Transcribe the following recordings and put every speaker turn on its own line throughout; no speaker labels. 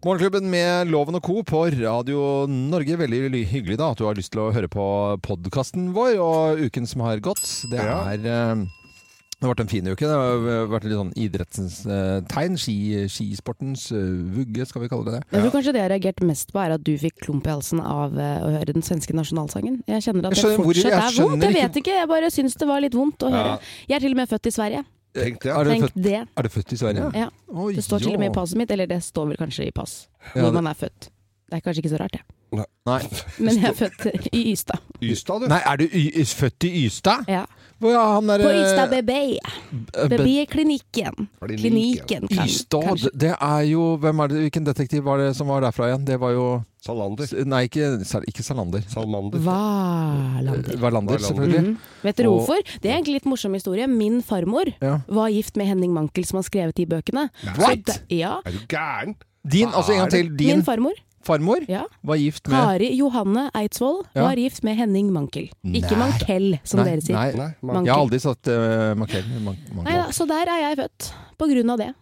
Morgenklubben med Loven og Co. på Radio Norge. Veldig ly- hyggelig da at du har lyst til å høre på podkasten vår og uken som har gått. Det
Ja.
er eh, det har vært en fin uke. Det har vært litt sånn idrettens eh, tegn. Ski, skisportens eh, vugge, skal vi kalle det det.
Jeg tror kanskje det jeg reagerte mest på, er at du fikk klump i halsen av eh, å høre den svenske nasjonalsangen. Jeg kjenner at
Jeg
det
skjønner hvor- jeg
fortsatt er
skjønner
vondt. Jeg
ikke-
vet ikke, jeg bare syns det var litt vondt å høre.
Ja.
Jeg er til og med født i Sverige.
Tenk det.
Eh, Er du
Tenk
født,
det.
er du født i Sverige?
Ja.
Oi,
Det står til og med i
ja.
passet mitt, eller det står vel kanskje i pass
Ja,
når
det-
man er født. Det er kanskje ikke så rart, det.
Nei.
Men jeg er født i Ystad.
Ystad, du.
Nei, er du y født i Ystad?
Ja.
Hvor er han der,
På
eh,
Ystad BB.
eh,
BB-klinikken. Klinikken, kan-
Ystad,
kanskje.
det er jo hvem er det, Hvilken detektiv var det som var derfra igjen? Det var jo
Salander.
Nei, ikke, Sal- ikke Salander.
Salmander.
Valander.
Verlander,
Wallander.
selvfølgelig.
Mhm. Vet dere
Og-
hvorfor? Det er egentlig litt morsom historie. Min farmor
Ja.
var gift med Henning Mankel, som har skrevet de bøkene. Så
What?
det- Ja.
Er du gæren?
Din, altså en gang til, din
Min farmor,
farmor
ja.
var gift med
Kari Johanne Eidsvoll,
Ja.
var gift med Henning Mankel. Ikke
Nei.
Mankell, som dere sier.
Nei,
Nei. man-
Mankel.
jeg har aldri sagt uh, makrell. Man, man,
Nei da, så der er jeg født. På grunn av det.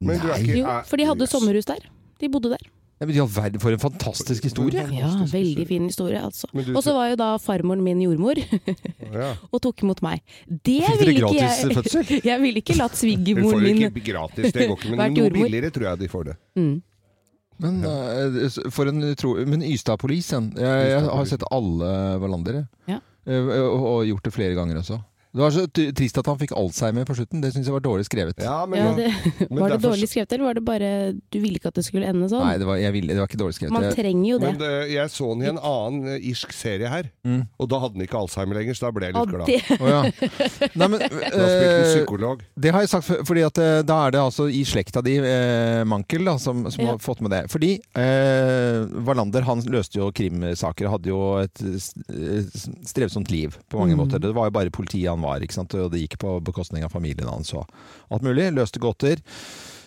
Men du
Nei.
er ikke
Jo,
er-
for de hadde
Jøss.
sommerhus der. De bodde der.
Nei, men i all verden, for en fantastisk historie!
Ja, veldig fin historie, altså.
Men du-
Og så var jo da farmoren min jordmor,
Ja.
og tok imot meg. Det
Fikk dere
ville ikke
gratis
jeg
fødsel?
Jeg ville ikke latt
Hun får
svigermoren min
det ikke gratis, det går ikke. Men
Vært
noe
jordmor.
billigere tror jeg de får det.
Mm.
Men, eh, s- for en utro... Men Ystad-policen jeg, jeg har sett alle Verlandere.
Ja.
Eh, og, og gjort det flere ganger også. Det var så t- trist at han fikk alzheimer på slutten. Det syns jeg var dårlig skrevet.
Ja, men
ja,
nå-
det, Var
Men
det
derfor-
dårlig skrevet, eller var det bare du ville ikke at det skulle ende sånn?
Nei, det var, jeg ville, det var ikke dårlig skrevet.
Man
Jeg-
trenger jo det.
Men det, jeg så den i en annen eh, irsk serie her, og da hadde den ikke Alzheimer lenger, så da ble jeg
Mm. Ja,
litt glad.
det,
Å, ja. Nei, men,
Da spilte den
eh,
psykolog.
Det har jeg sagt før, fordi at eh, da er det altså i slekta di, eh, Mankel, da, som, som
Ja.
har fått med det. Fordi eh, Wallander han løste jo krimsaker, hadde jo et eh, s- eh, strevsomt liv på mange måter. Det var jo bare politiet han var, ikke sant? og det gikk på bekostning av familien hans og alt mulig. Løste gåter.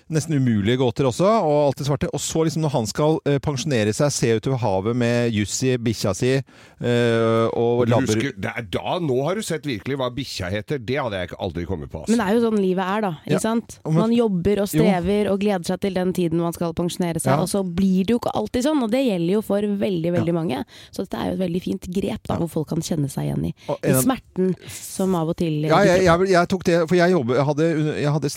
Nesten umulige gåter også, og alt det svarte. Og så liksom når han skal eh, pensjonere seg, se utover havet med Jussi, bikkja si eh, og
Du
labber...
Husker, det er da, nå har du sett virkelig hva bikkja heter. Det hadde jeg ikke- aldri kommet på.
men
Altså.
det er jo sånn livet er, da. Ikke
Ja.
sant?
Og men-
Man jobber og strever og gleder seg til den tiden man skal pensjonere seg,
Ja.
og så blir det jo ikke alltid sånn. Og det gjelder jo for veldig, veldig mange. Så dette er jo et veldig fint grep, da, hvor folk kan kjenne seg igjen i,
Og
i
en-
smerten som av og til
Ja, jeg, jeg, jeg tok det, for jeg, jobber, jeg hadde, jeg hadde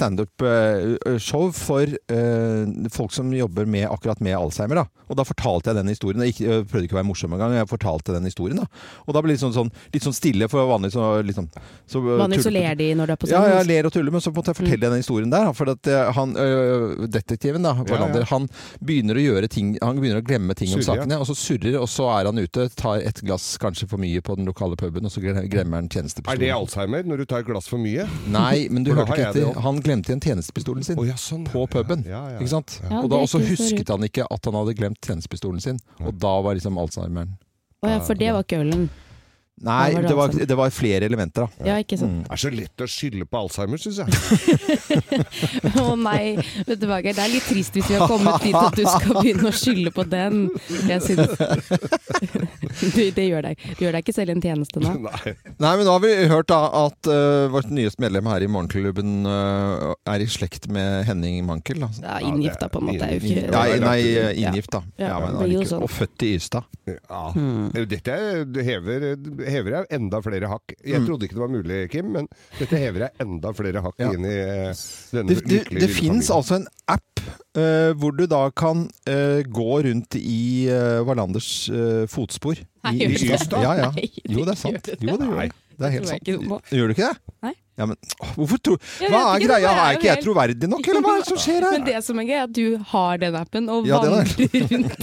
standup-show for eh, folk som jobber med, akkurat med Alzheimer. Da. Og da fortalte jeg den historien. Jeg, gikk- jeg prøvde ikke å være morsom engang. Jeg fortalte den historien. Da. Og da ble det litt sånn, sånn, litt sånn stille, for vanlig så, liksom, så eh,
Vanligvis så
tullet-
ler de når du er på sånn Mm.
ja,
scenen.
jeg ler og tuller, men så måtte jeg fortelle den historien der. da, For at eh, han, ø, detektiven, da, Wallander, han begynner å gjøre ting Han begynner å glemme ting om
Surrer, ja.
sakene, og så surrer, og så er han ute, tar et glass kanskje for mye på den lokale puben, og så gle- glemmer han
Er
tjenestepistolen.
det Alzheimer når du tar et glass for mye?
Nei, men du
For da
hørte
har
ikke
jeg det
etter. Han glemte igjen tjenestepistolen sin
Å, ja, sånn.
på puben.
Ja, ja, ja.
Ikke sant?
Ja,
og da
det er
også
ikke så
husket
rart.
han ikke at han hadde glemt tjenestepistolen sin. Og da var liksom alzheimeren
Å ja, for det var ikke ølen.
Nei,
Da var det
det var,
Alzheimer.
det var flere elementer, da.
Ja, ikke
Mm.
sant.
Det er så lett å skylde på Alzheimer, syns jeg.
Å nei, vet du hva Geir, det er litt trist hvis vi har kommet dit at du skal begynne å skylde på den. Jeg synes du, Det gjør deg, du gjør deg ikke selv en tjeneste nå.
Nei.
Nei, men da har vi hørt da at øh, vårt nyeste medlem her i Morgenklubben øh, er i slekt med Henning Mankel. Da.
Ja, inngifta på en måte. Er jo ikke,
Nei,
det er
nei,
rart.
inngift, da.
Ja.
Ja, men
Det blir jo
allikevel.
sånn.
og født i Ystad.
Ja.
Mm.
Eh, Dette er- det hever, det hever jeg enda flere hakk. Jeg
Mm.
trodde ikke det var mulig, Kim, men dette hever jeg enda flere hakk
Ja.
inn i eh, denne
Det, det,
lykkelige
det
lille
fins
familien.
altså en app eh, hvor du da kan eh, gå rundt i eh, Wallanders eh, fotspor.
Nei,
I-
gjør
i
du det?
Ystad. Ja, ja.
Nei, det
Jo, det er
gjør
sant.
det.
Jo, det gjør det. Det er helt
tror jeg
sant.
ikke noe
Gjør du ikke det?
Nei.
Ja, men, åh, hvorfor tror
Jeg
Hva
vet ikke,
er
det
greia?
var
Er ikke jeg
helt-
troverdig nok, eller hva er det som skjer
Men
her?
det som er gøy, er at du har den appen og
Ja, det er
vandrer rundt.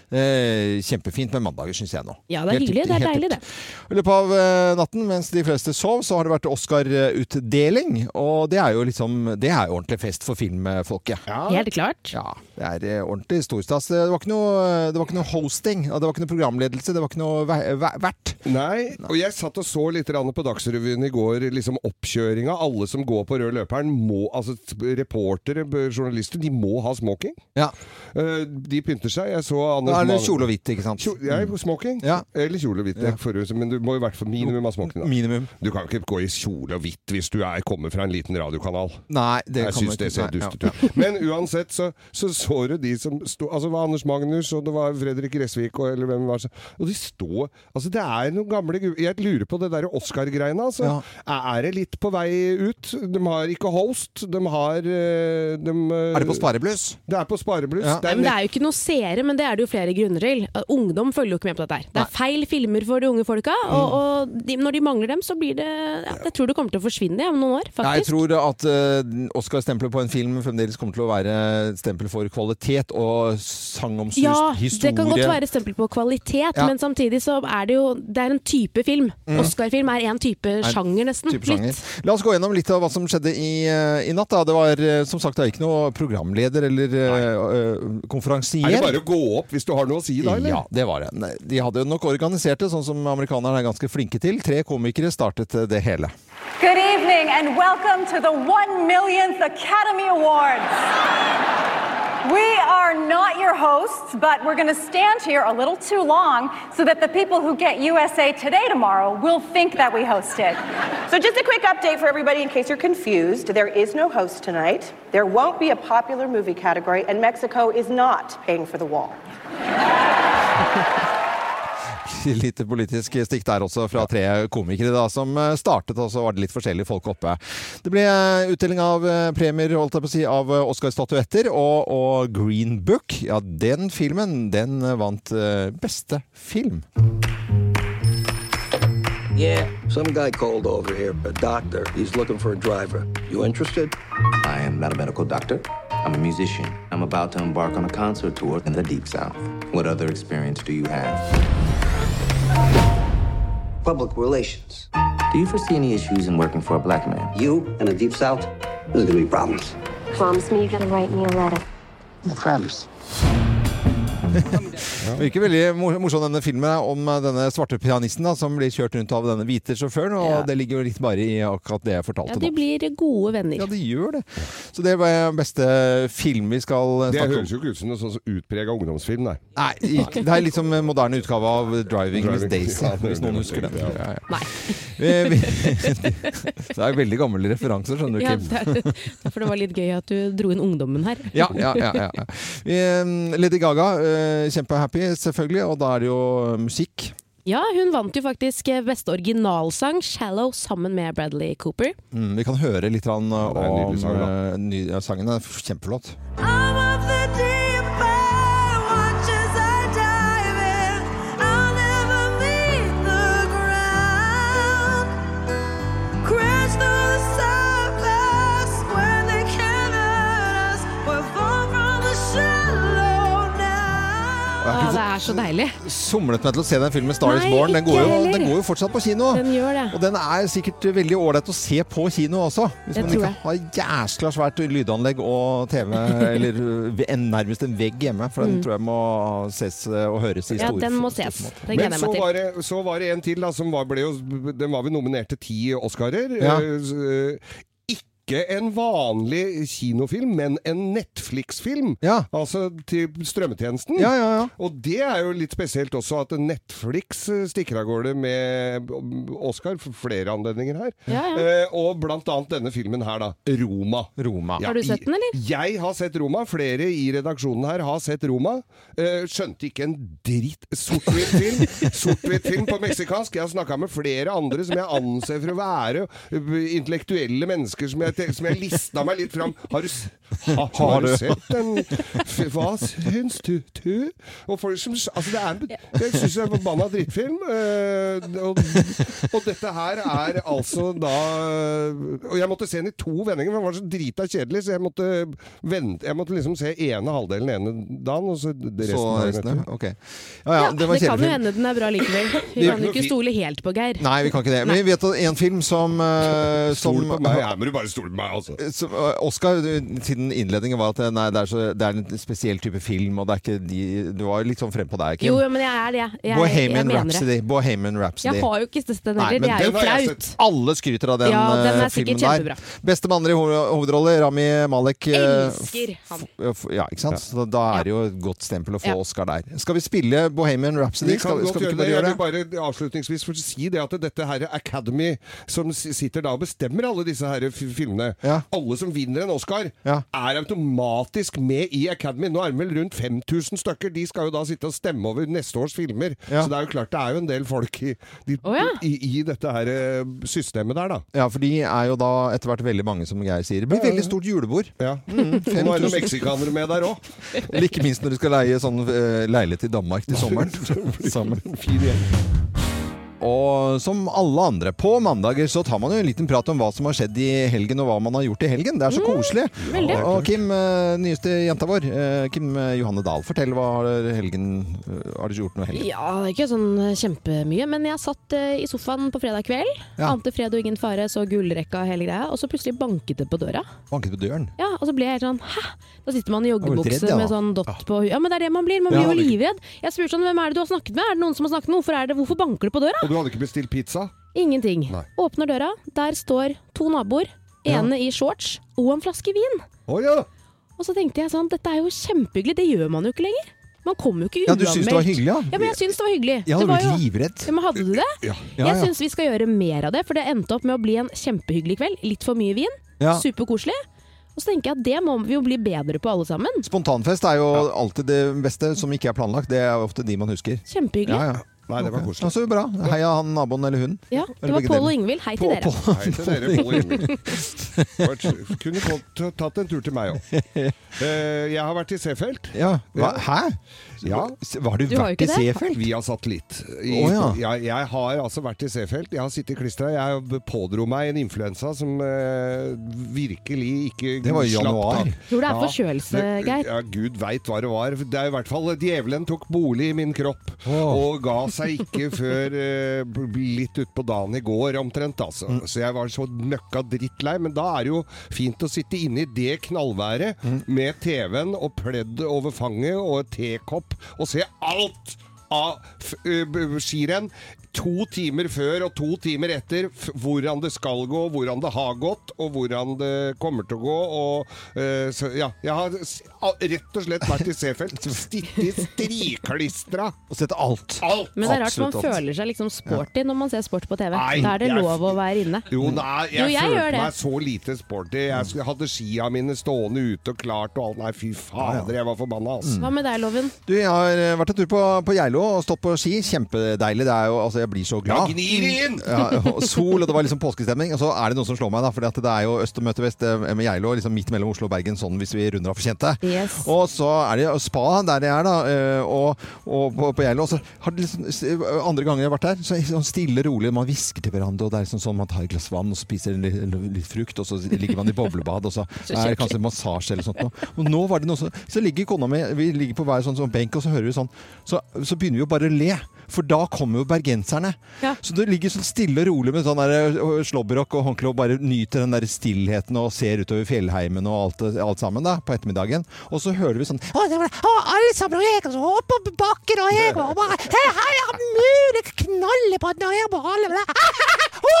Eh, kjempefint med mandager, syns jeg nå.
Ja, det er
Helt
hyggelig.
riktig,
Det er
helt
deilig,
riktig.
det.
I løpet av eh, natten, mens de fleste sov, så har det vært Oscar-utdeling. Og det er jo liksom Det er jo ordentlig fest for filmfolket.
Ja.
Helt klart.
Ja, det er eh, ordentlig storstas. Det var ikke noe, det var ikke noe hosting, og det var ikke noe programledelse, det var ikke noe ve- ve- vert.
Nei, og jeg satt og så litt grann på Dagsrevyen i går, liksom oppkjøringa. Alle som går på rød løperen, må, altså reportere, journalister, de må ha smoking.
Ja.
Eh, De pynter seg. Jeg så Anders
Eller
Mane-
kjole og hvitt, ikke sant?
Kjo- Jeg er smoking.
Ja.
Eller kjole og hvitt. det er forhus, Men du må i hvert fall minimum ha smoking. Da.
Minimum.
Du kan ikke gå i kjole og hvitt hvis du er, kommer fra en liten radiokanal.
Nei, det
Jeg
kan man
syns det
ikke-
ser
nei,
dustet
ja.
ut. Men uansett så, så så du de som sto Altså det var Anders Magnus, og det var Fredrik Gressvik, og, eller hvem det var så, Og de står Altså det er noen gamle gu- Jeg lurer på det der Oscar-greiene, altså.
Ja.
Er er det litt på vei ut? De har ikke host. De har eh, de, eh,
Er det på sparebluss?
Det er på sparebluss.
Ja.
Det
Nei,
er
men det
nett-
er jo ikke noe seere, men det er det jo flere grunner til. Uh, Ungdom følger jo ikke med på dette her. Det
Nei.
er feil filmer for de unge folka, og, og de, når de mangler dem, så blir det ja, Jeg tror det kommer til å forsvinne ja, om noen år,
Nei, jeg
faktisk.
tror at eh, Oscar-stempelet på en film fremdeles kommer til å være et stempel for kvalitet og sangomsust
ja,
historie.
det kan godt være stempel på kvalitet,
Ja. Mm.
men samtidig så er det jo Det er en type film. Oscar-film er en type sjanger, nesten.
type sjanger.
Litt.
La oss gå gjennom litt av hva som skjedde i, eh, i natt. Da. Det var eh, som sagt det er ikke noe programleder eller eh, eh, konferansier.
Er det bare å gå opp hvis du har noe å si da, eller?
Ja, det var det. Nei, De hadde jo nok organisert det, sånn som amerikanerne er ganske flinke til. Tre komikere startet eh, det hele.
Good evening, and welcome to the one millionth Academy Awards. We are not your hosts, but we're going to stand here a little too long so that the people who get USA Today tomorrow will think that we hosted.
So, just a quick update for everybody in case you're confused. There is no host tonight. There won't be a popular movie category, and Mexico is not paying for the wall.
Litt politisk stikk der også, fra tre komikere da, som eh, startet, og så var det litt forskjellige folk oppe. Det ble eh, utdeling av eh, premier, holdt jeg på å si, av eh, Oscar-statuetter, og, og Green Book, ja, den filmen, den eh, vant eh, beste film.
Yeah. Some guy called over here, a doctor. He's looking for a driver. You interested?
I am not a medical doctor. I'm a musician. I'm about to embark on a concert tour in the Deep South. What other experience do you have?
Public relations.
Do you foresee any issues in working for a black man?
You and the Deep South? There's gonna be problems.
Promise me you're gonna write me a letter.
No problems.
Virker veldig mor- morsom denne filmen er om eh, denne svarte pianisten da, som blir kjørt rundt av denne hvite sjåføren, og
Ja.
det ligger jo litt bare i akkurat det jeg
Ja,
fortalte
de
nå.
blir gode venner.
Ja, det gjør det. Så det var beste film vi skal eh,
Det
snakke om.
høres jo ikke ut som noe sånn utprega ungdomsfilm, nei.
Nei, ikke. det er liksom en moderne utgave av 'Driving Miss
Driving.
Daisy',
Ja,
hvis noen husker den.
ja.
Ja, ja.
Nei.
Eh, vi- Det er veldig gamle referanser, skjønner du,
Ja,
Kim.
det er, derfor det var litt gøy at du dro inn ungdommen her.
Ja, ja, ja, ja. Eh, Lady Gaga, eh, kjempehappy selvfølgelig, og da er det jo musikk.
Ja, hun vant jo faktisk eh, beste originalsang, 'Shallow', sammen med Bradley Cooper.
Mm, vi kan høre litt grann, eh,
det er en
om
nydelig sang, da.
eh, ny- ja, sangen. er f- Kjempeflott.
I'm of the deep end, watch as I dive in. I'll never meet the ground. Crash through the surface where they can hurt us. We're far from the shallow now.
Å, det er så deilig!
Somlet meg til å se den filmen 'Star is
Nei,
Born'. Den
ikke
går, jo,
heller.
den går jo fortsatt på kino.
Den gjør det.
Og den er sikkert veldig ålreit å se på kino også. Hvis
Det
man
tror
ikke har jæskla svært lydanlegg og TV, eller øh, en, nærmest en vegg hjemme. For den tror jeg må ses øh, og høres i
Mm. Ja,
stor
den må
stor
ses.
format.
Det
Men
gleder jeg
så
meg til.
var, det, så var det en til da, som var, ble jo, den var vel nominert til ti Oscarer.
Ja.
Eh, s- eh, Ikke en vanlig kinofilm, men en Netflix-film.
Ja.
Altså til strømmetjenesten.
Ja, ja, ja.
Og det er jo litt spesielt også at Netflix eh, stikker av gårde med eh, Oscar for flere anledninger her.
Ja, ja.
Eh, og blant annet denne filmen her, da. Roma.
Roma.
Ja,
Har du sett den, eller?
Jeg har sett Roma. Flere i redaksjonen her har sett Roma. Eh, skjønte ikke en dritt. Sort-hvitt film Sort-hvitt film på meksikansk. Jeg har snakka med flere andre som jeg anser for å være eh, intellektuelle mennesker, som jeg, te- som jeg lista meg litt fram. Har du, s- ha, har du sett den? F- Hva syns du? du? Og folk som s- Altså, det er en- Jeg syns det er en forbanna drittfilm. eh, og, og dette her er altså da Og jeg måtte se den i to vendinger, for den var så drita kjedelig, så jeg måtte, vente, jeg måtte liksom se ene halvdelen ene dagen, og så resten.
Så
dagen
resten,
etter.
ja. Ok. Ja, ja, det var
kan jo
kjedelig.
hende den er bra likevel. Vi
Ja.
kan jo ikke stole helt på Geir.
Nei, vi kan ikke det. Men vi vet at en film som, øh, som
Stol på meg. Her må du bare stole på meg, altså.
så, øh, Oscar, øh, siden innledningen var at øh, nei, det, er så, det er en spesiell type film, og det er ikke de Du var jo litt sånn frempå der, Kim.
Jo, jo, men jeg er det. Jeg, jeg, jeg,
Bohemian
mener det.
Rhapsody. Bohemian Rhapsody.
Jeg har jo ikke sett den
Nei,
heller.
men
Det er jo
den har jeg
flaut.
sett.
Alle skryter av den,
Ja, den er
eh, filmen
sikkert
der.
kjempebra.
Beste mann i ho- hovedrolle, Rami Malek. eh,
Elsker han.
f- f- Ja, ikke sant? Så da er det jo et godt stempel å få
Ja.
Oscar der. Skal vi spille Bohemian Rhapsody?
Vi kan
Skal,
godt
skal vi ikke
gjøre det.
bare
Jeg
gjøre
vil
det?
bare avslutningsvis få si det at dette her Academy, som s- sitter da og bestemmer alle disse her f- filmene
Ja.
Alle som vinner en Oscar,
Ja.
er automatisk med i Academy. Nå er det vel rundt 5000 stykker. De skal jo da sitte og stemme over neste års filmer.
Ja.
Så det er jo klart det er jo en del folk i, de,
Å ja.
i, i dette her eh, systemet der, da.
Ja, for de er jo da etter hvert veldig mange, som Geir sier. Det blir veldig stort julebord. Mm,
Ja. Mm. Nå er det noen meksikanere med der òg.
Eller Ikke minst når du skal leie sånn eh, leilighet i Danmark til sommeren. Sammen. Og som alle andre, på mandager så tar man jo en liten prat om hva som har skjedd i helgen, og hva man har gjort i helgen. Det er
Mm,
så koselig. og, og Kim, eh, nyeste jenta vår, eh, Kim eh, Johanne Dahl, fortell hva har helgen eh, Har du gjort noe i helgen?
Ja, det er ikke sånn kjempemye, men jeg satt eh, i sofaen på fredag kveld.
Ja.
Ante fred og ingen fare, så gullrekka og hele greia. Og så plutselig banket det på døra.
Banket på døren.
Ja, Og så ble jeg helt sånn hæ? Da sitter man i
var litt redd,
joggebukse
ja, da.
med sånn dott på huet. Ja, men det er det man blir. Man
Ja,
blir jo
det er
livredd. Jeg spurte sånn hvem er det du har snakket med? Er det noen som har snakket med? Hvorfor, er det? Hvorfor banker du på døra?
Og du hadde ikke bestilt pizza?
Ingenting.
Nei.
Åpner døra, der står to naboer. Ene i shorts og en flaske vin.
Å ja!
Og så tenkte jeg sånn, dette er jo kjempehyggelig, det gjør man jo ikke lenger. Man kommer jo ikke
Ja,
unna
du syns det var hyggelig, ja?
Ja, men jeg syns det var hyggelig.
Jeg
det
hadde
var
blitt
jo-
livredd.
Ja, men hadde du det?
Ja.
Ja,
Jeg
ja.
syns vi skal gjøre mer av det, for det endte opp med å bli en kjempehyggelig kveld. Litt for mye vin,
Ja.
superkoselig. Og så tenker jeg at det må vi jo bli bedre på alle sammen.
Spontanfest er jo alltid det beste som ikke er planlagt. Det er ofte de man husker.
Kjempehyggelig.
Ja,
Ja,
ja.
Nei, det var
Ja,
koselig.
så bra. Heia han naboen eller hun.
Det var
begge
Pål
deler.
og Ingvild, hei til
På-
dere.
på-
Hei til dere, Pål Emil. Vært- Kunne godt tatt en tur til meg òg. Jeg har vært i Seefeld. Eh,
Ja. Hva? Hæ?
Ja.
Var du,
Du har jo
vært i
ikke det.
Seefeld?
Via satellitt. I,
Å, ja.
jeg, jeg har altså vært i Seefeld. Jeg har sittet klistra. Jeg pådro meg en influensa som eh, virkelig ikke
Det var i
slapp
januar.
tak.
Tror det er
Ja.
forkjølelse,
Det-
Geir.
Ja, Gud veit hva det var. Det er i hvert fall Djevelen tok bolig i min kropp
Åh.
og ga seg ikke før eh, b- litt utpå dagen i går, omtrent. Altså. Så jeg var så nøkka drittlei. Men da er det jo fint å sitte inne i det knallværet med TV-en og pledd over fanget og et tekopp og se alt! Av f- ø, b- skirenn to timer før og to timer etter f hvordan det skal gå, hvordan det har gått og hvordan det kommer til å gå. Og, eh, så, ja, jeg har s- a- rett og slett vært i Seefeld. Sittet striklistra
Og sett alt.
alt!
Men det er rart man
Absolutt alt.
føler seg liksom sporty når man ser sport på TV.
Nei,
Da er det
jeg-
lov å være inne.
Jo,
Mm.
nei, jeg,
Jo, jeg gjør
følte
det.
meg så lite sporty. Jeg sk- hadde skia mine stående ute og klart og alt. Nei, fy fader, jeg var forbanna, altså.
Mm.
Hva med deg, Loven?
Du, jeg har eh, vært en tur på, på Geilo og stått på ski. Kjempedeilig. Det er jo, altså, jeg blir så
Ja,
glad.
gnir det inn!
Ja, og sol, og det var liksom påskestemning. Og så er det noe som slår meg, da, for det er jo øst og møte vest eh, med Geilo, liksom midt mellom Oslo og Bergen, sånn hvis vi runder av for kjente.
Yes.
Og så er det jo spa der jeg er, da, eh, og, og på, på Geilo. Og så har det liksom, s- andre ganger jeg har vært der, så er det sånn stille og rolig, man hvisker til hverandre, og det er liksom sånn man tar et glass vann og så spiser litt, litt frukt, og så ligger man i boblebad, og så er det kanskje massasje eller sånt noe. Og nå var det noe som Så ligger kona mi Vi ligger på hver sånn, sånn benk, og så hører vi sånn Så, så begynner vi jo bare å le. For da kommer jo bergenserne.
Ja.
Så du ligger sånn stille og rolig med sånn der ø, slåbrok og håndkle og bare nyter den der stillheten og ser utover fjellheimen og alt, alt sammen da, på ettermiddagen. Og så hører vi sånn «Å, det var- å, Alle sammen, og jeg kan så opp på bakken, og jeg og bare «Hei, hei, jeg har mulig knalle på den, og jeg bare alle med det.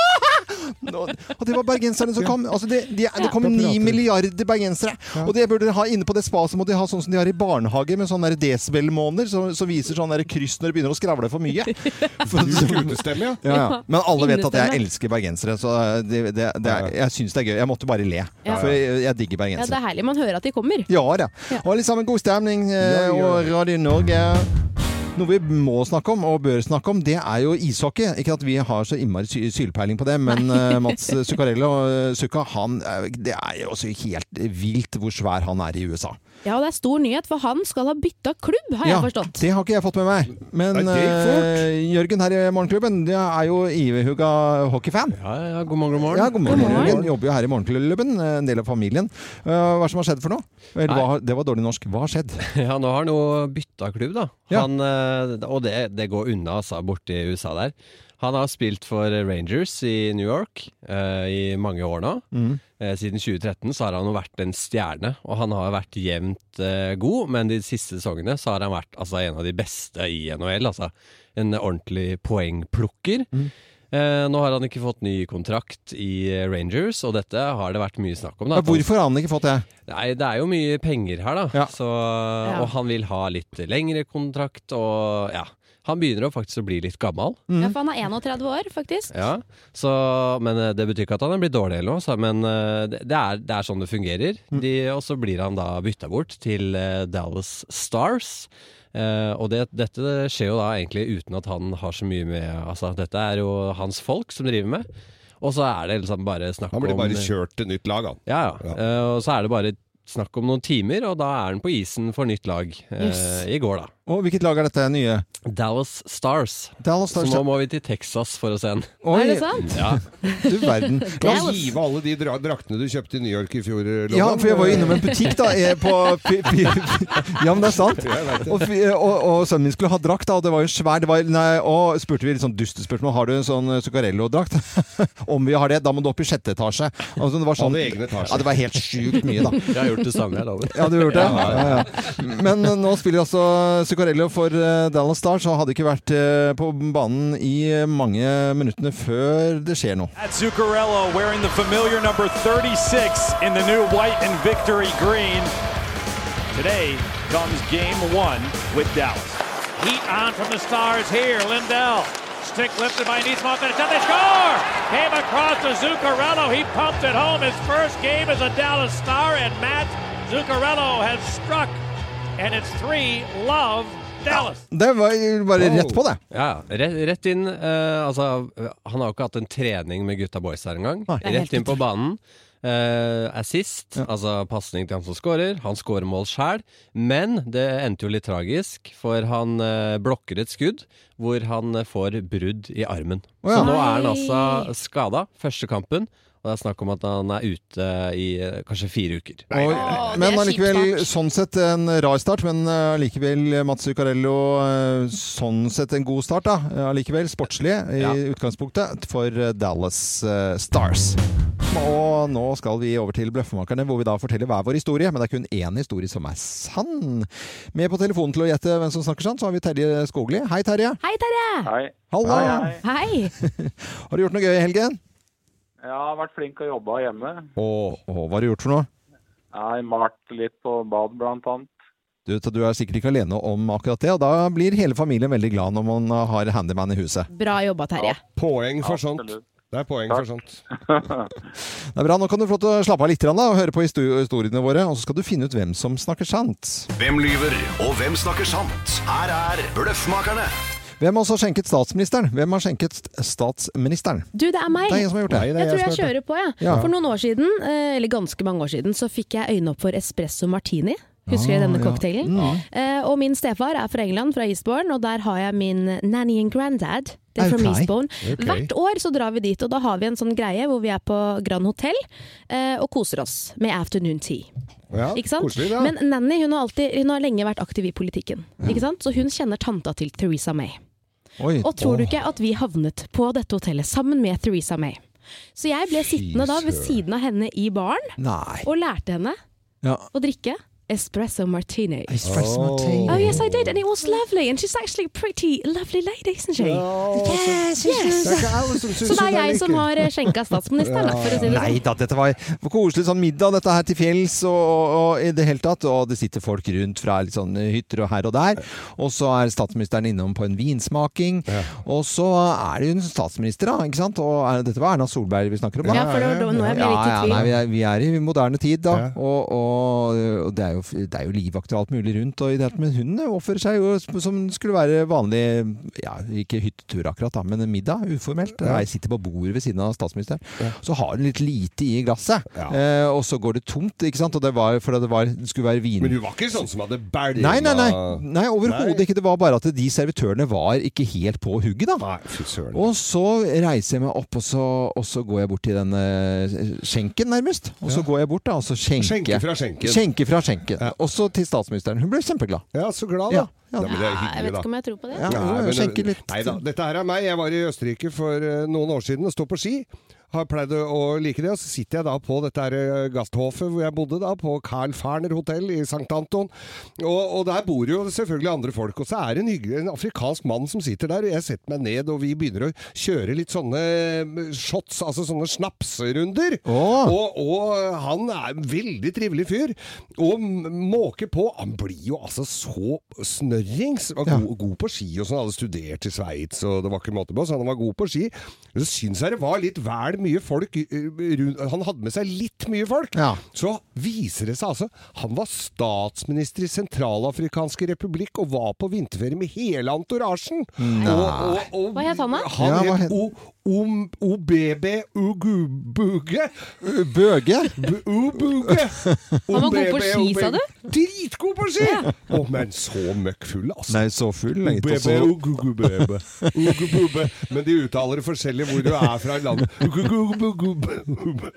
Og og det var bergenserne som kom. Altså det, de, det kom ni milliarder bergensere. Og det burde de ha inne på det spaet, så må de ha sånn som de har i barnehage, med sånne der desibelmåner som som viser sånn der kryss når de begynner å skravle for mye.
Sjuk utestemme, ja.
Ja, ja. Men alle vet at jeg
Innestemme.
elsker bergensere, så eh, det, det, det er, jeg syns det er gøy. Jeg måtte bare le,
Ja.
for jeg, jeg
Ja,
digger
det
bergensere.
er herlig. Man hører at de kommer.
Ja da. Alle sammen, god stemning eh,
Ja, ja.
og Radio Norge. Noe vi må snakke om, og bør snakke om, det er jo ishockey. Ikke at vi har så innmari sy sylpeiling på det, men eh, Mats Zuccarello eh, Zucca, han er- Det er jo også helt vilt hvor svær han er i USA.
Ja, og det er stor nyhet, for han skal ha bytta klubb, har jeg forstått.
Det har ikke jeg fått med meg. Men
Nei, det gikk fort.
eh, Jørgen her i Morgenklubben det er jo ihuga hockeyfan.
Ja, ja, god morgen, god morgen.
Ja, god morgen.
God morgen.
Jørgen jobber jo her i Morgenklubben, en del av familien. Eh, hva er det som har skjedd for noe? Eller, hva, har- det var dårlig norsk. Hva har skjedd?
Ja, nå har han jo bytta klubb, da.
Ja.
Han, eh, og det, det går unna, altså, borti USA der. Han har spilt for Rangers i New York eh, i mange år nå. Eh, siden 2013 så har han jo vært en stjerne, og han har vært jevnt eh, god, men de siste sesongene så har han vært altså, en av de beste i NHL. Altså en ordentlig poengplukker. Eh, nå har han ikke fått ny kontrakt i eh, Rangers, og dette har det vært mye snakk om. Da,
Ja,
At han
hvorfor har han ikke fått det?
Nei, det er jo mye penger her, da.
Ja.
Så, og han vil ha litt lengre kontrakt, og ja. Han begynner jo faktisk å bli litt gammel.
Ja, for han er 31 år, faktisk.
Ja. Så, men eh, det betyr ikke at han er blitt dårlig eller noe, så, men eh, det det er, det er sånn det fungerer. De, og så blir han da bytta bort til eh, Dallas Stars. Eh, og det, dette skjer jo da egentlig uten at han har så mye med Altså, dette er jo hans folk som driver med. Og så er det liksom bare snakk
Han
om
blir bare kjørt til nytt lag, han.
ja, ja. Eh, og så er det bare snakk om noen timer, og da er han på isen for nytt lag. eh,
Yes.
I går, da.
Og hvilket lag er dette nye?
Dallas Stars.
Dallas
Så
Stars.
nå må vi til Texas for å se han.
Oi,
Er det sant?
Ja.
du verden.
La oss hive alle de dra draktene du kjøpte i New York i fjor, eh, Loven.
Ja, for jeg var jo innom en butikk da eh, på pi- pi- Ja, men det er sant. Og, fi- og, og sønnen min skulle ha drakt, da, og det var jo svær. Det var, nei, og spurte vi litt sånn dustespørsmål Har du en sånn eh, Zuccarello-drakt. Om vi har det, da må du opp i sjette etasje. Altså, det var sånn,
Alle egne etasjer.
ja, det var helt sjukt mye, da.
Jeg har gjort det samme, jeg lover.
Ja, du har gjort det? Ja, ja. Men eh, nå spiller altså Zuccarello for eh, Dallas Stars han hadde ikke vært eh, på banen i mange minuttene før det skjer noe.
At Zuccarello wearing the familiar number 36 in the new white and victory green. Today comes game one with Dallas.
Heat on from the stars here. Lindell. Stick lifted by Neesmith and a shot. They score! Came across to Zuccarello. He pumped it home. His first game as a Dallas Star, and Matt Zuccarello has struck. And it's three love Dallas.
Det var jo bare rett på, det.
Ja, rett, rett inn. eh, altså, han har jo ikke hatt en trening med gutta boys her engang.
Nei. Det er helt
Rett inn på banen. Eh, assist, altså pasning til han som scorer. Han scorer mål sjæl, men det endte jo litt tragisk, for han eh, blokker et skudd hvor han eh, får brudd i armen.
Å ja.
Så nå er han
Nei.
altså skada første kampen, og det er snakk om at han er ute i eh, kanskje fire uker.
Og, men allikevel, sånn sett en rar start, men eh, allikevel eh, Mats Zuccarello eh, Sånn sett en god start, da. Eh, Allikevel sportslig i utgangspunktet for eh, Dallas eh, Stars. Og nå skal vi over til Bløffmakerne, hvor vi da forteller hver vår historie. Men det er kun én historie som er sann. Med på telefonen til å gjette hvem som snakker sant, så har vi Terje Skogli. Hei, Terje.
Hei, Terje!
Hallo.
Hei!
Har du gjort noe gøy i helgen?
Jeg har vært flink og jobba hjemme.
Og, og hva har du gjort for noe?
Jeg har malt litt på bad, blant annet.
Du, vet at du er sikkert ikke alene om akkurat det, og da blir hele familien veldig glad når man har handyman i huset.
Bra jobba, Terje.
Poeng for sånt. Det er poeng for sånt.
Det er bra, Nå kan du få lov til å slappe av litt grann, da, og høre på histo- historiene våre, og så skal du finne ut hvem som snakker sant.
Hvem lyver, og hvem snakker sant? Her er Bløffmakerne.
Hvem har også skjenket statsministeren? Hvem har skjenket st- statsministeren?
Du, det er meg.
Det er jeg som har gjort det. Nei, det er
jeg tror
jeg
jeg
som har
kjører på, jeg.
Ja.
For noen år siden, eh, eller ganske mange år siden, så fikk jeg øynene opp for espresso martini. Husker dere
Ah,
denne
ja.
cocktailen?
Mm.
Eh, og min stefar er fra England, fra Eastbourne, og der har jeg min nanny and granddad. Det er
Ok.
fra Eastbourne.
Ok.
Hvert år så drar vi dit, og da har vi en sånn greie hvor vi er på Grand Hotel eh, og koser oss med afternoon tea.
Ja,
ikke sant?
koselig, ja.
Men Nanny hun har, alltid, hun har lenge vært aktiv i politikken, ikke sant? så hun kjenner tanta til Theresa May.
Oi.
Og tror du ikke at vi havnet på dette hotellet sammen med Theresa May? Så jeg ble sittende da ved
søren.
siden av henne i baren
Nei.
og lærte henne
Ja.
å drikke espresso martini.
Espresso Oh. martini.
Oh yes I did, and it was lovely. And she's actually a pretty lovely lady, isn't she?
Yes,
yes.
Det er ikke alle som
Så det
synes hun
er
er
jeg
like.
som har eh, skjenka statsministeren, da, for å si det
Nei
sånn.
da, dette var koselig sånn middag, dette her til fjells og, og, og i det hele tatt. Og det sitter folk rundt fra litt sånn hytter og her og der. Og så er statsministeren innom på en vinsmaking. Og så er det jo en statsminister, da. ikke sant? Og er, dette var Erna Solberg vi snakker om. da.
Ja, for det var da- nå jeg ble
ja,
litt i
ja,
tvil.
nei, vi, er, vi er i moderne tid, da. Og, og, og det er jo, det er jo livvakter og alt mulig rundt. Og i det, hele tatt, men hun oppfører seg jo sp- som skulle være vanlig, ja, ikke hyttetur akkurat, da, men en middag. Uformelt. Jeg sitter på bordet ved siden av statsministeren. Så har hun litt lite i glasset, eh, og så går det tomt, ikke sant. Og det var fordi det, var, det skulle være vin.
Men du var ikke sånn som hadde bælma
Nei, nei, nei. nei Overhodet ikke. Det var bare at de servitørene var ikke helt på hugget, da. og så reiser jeg meg opp, og så, og så går jeg bort til den eh, skjenken, nærmest. Og så går jeg bort, da, og så skjenker
Skjenke fra skjenken.
Skjenke fra skjenken. Også til statsministeren. Hun ble kjempeglad.
Ja, så glad,
da.
Ja, men det er hyggelig,
Jeg vet
da.
ikke om jeg tror på det.
Ja, jo, jeg skjenker litt.
Nei da. Dette her er meg. Jeg var i Østerrike for eh, noen år siden og sto på ski. Har pleid å like det. Og så sitter jeg da på dette her eh, gasthofet hvor jeg bodde, da, på Carl Ferner hotell i St. Anton. Og, og der bor jo selvfølgelig andre folk. Og så er det en hyggelig en afrikansk mann som sitter der, og jeg setter meg ned, og vi begynner å kjøre litt sånne eh, shots, altså sånne snapsrunder. Og, og han er en veldig trivelig fyr. Og m- måker på. Han blir jo altså så snørrings. Var god, god på ski og sånn. Hadde studert i Sveits og det var ikke måte på, så han var god på ski. Så syns jeg det var litt vel mye folk eh, rundt Han hadde med seg litt mye folk. Så viser det seg altså Han var statsminister i Sentralafrikanske republikk og var på vinterferie med hele antorasjen. Og, og, og
Hva het han, da?
han het O- Om- OBB Ugubuge.
Bøge?
Ubuge.
Han var god på ski, sa du?
Dritgod på ski! Å, men så møkkfull, altså.
Nei, så full. jeg, altså. og
Ubebe,
så-
ugugubebe, ugubube. Men de uttaler det forskjellig hvor du er fra i landet. Ugugubugube.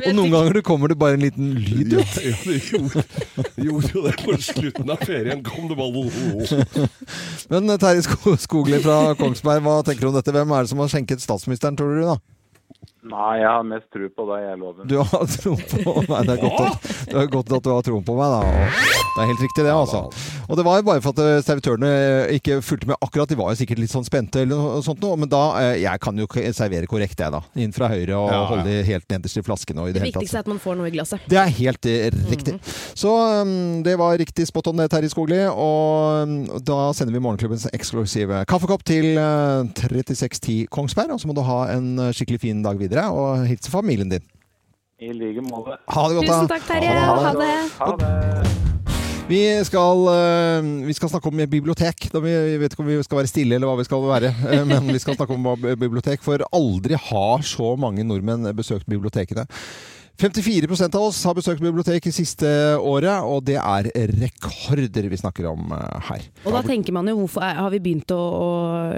Og noen ganger det kommer det bare en liten lyd
Ja,
ut.
ja, det gjorde, gjorde jo det på slutten av ferien. Kom det bare
Men eh, Terje Sko- Skogli fra Kongsberg, hva tenker du om dette? Hvem er det som har skjenket statsministeren, tror du? da?
Nei, jeg har mest tro på deg, jeg lover.
Du har tro på meg. Det er godt at, det er godt at du har tro på meg, da. Det er helt riktig, det, altså. Og det var jo bare for at eh, servitørene ikke fulgte med akkurat. De var jo sikkert litt sånn spente, eller noe sånt noe, men da eh, Jeg kan jo k- servere korrekt, jeg, da. Inn fra høyre og
Ja, ja.
holde helt nederst i flasken. Og i
Det
det hele tatt.
viktigste er at man får noe i glasset.
Det er helt eh, riktig. Så um, det var riktig spot on, det, Terje Skogli. Og um, da sender vi morgenklubbens eksklusive kaffekopp til eh, 3610 Kongsberg. Og så må du ha en eh, skikkelig fin dag videre, og hilse familien din.
I like måte.
Ha det godt, da. Tusen takk, Terje. Ha det.
Ha det.
Vi skal, eh, vi skal snakke om bibliotek. Da vi, jeg vet ikke om vi skal være stille eller hva vi skal være, eh, men vi skal snakke om hva- bibliotek. For aldri har så mange nordmenn besøkt bibliotekene. 54 av oss har besøkt bibliotek i siste året, og det er rekorder vi snakker om eh, her.
Og da tenker man jo hvorfor er- har vi begynt å, å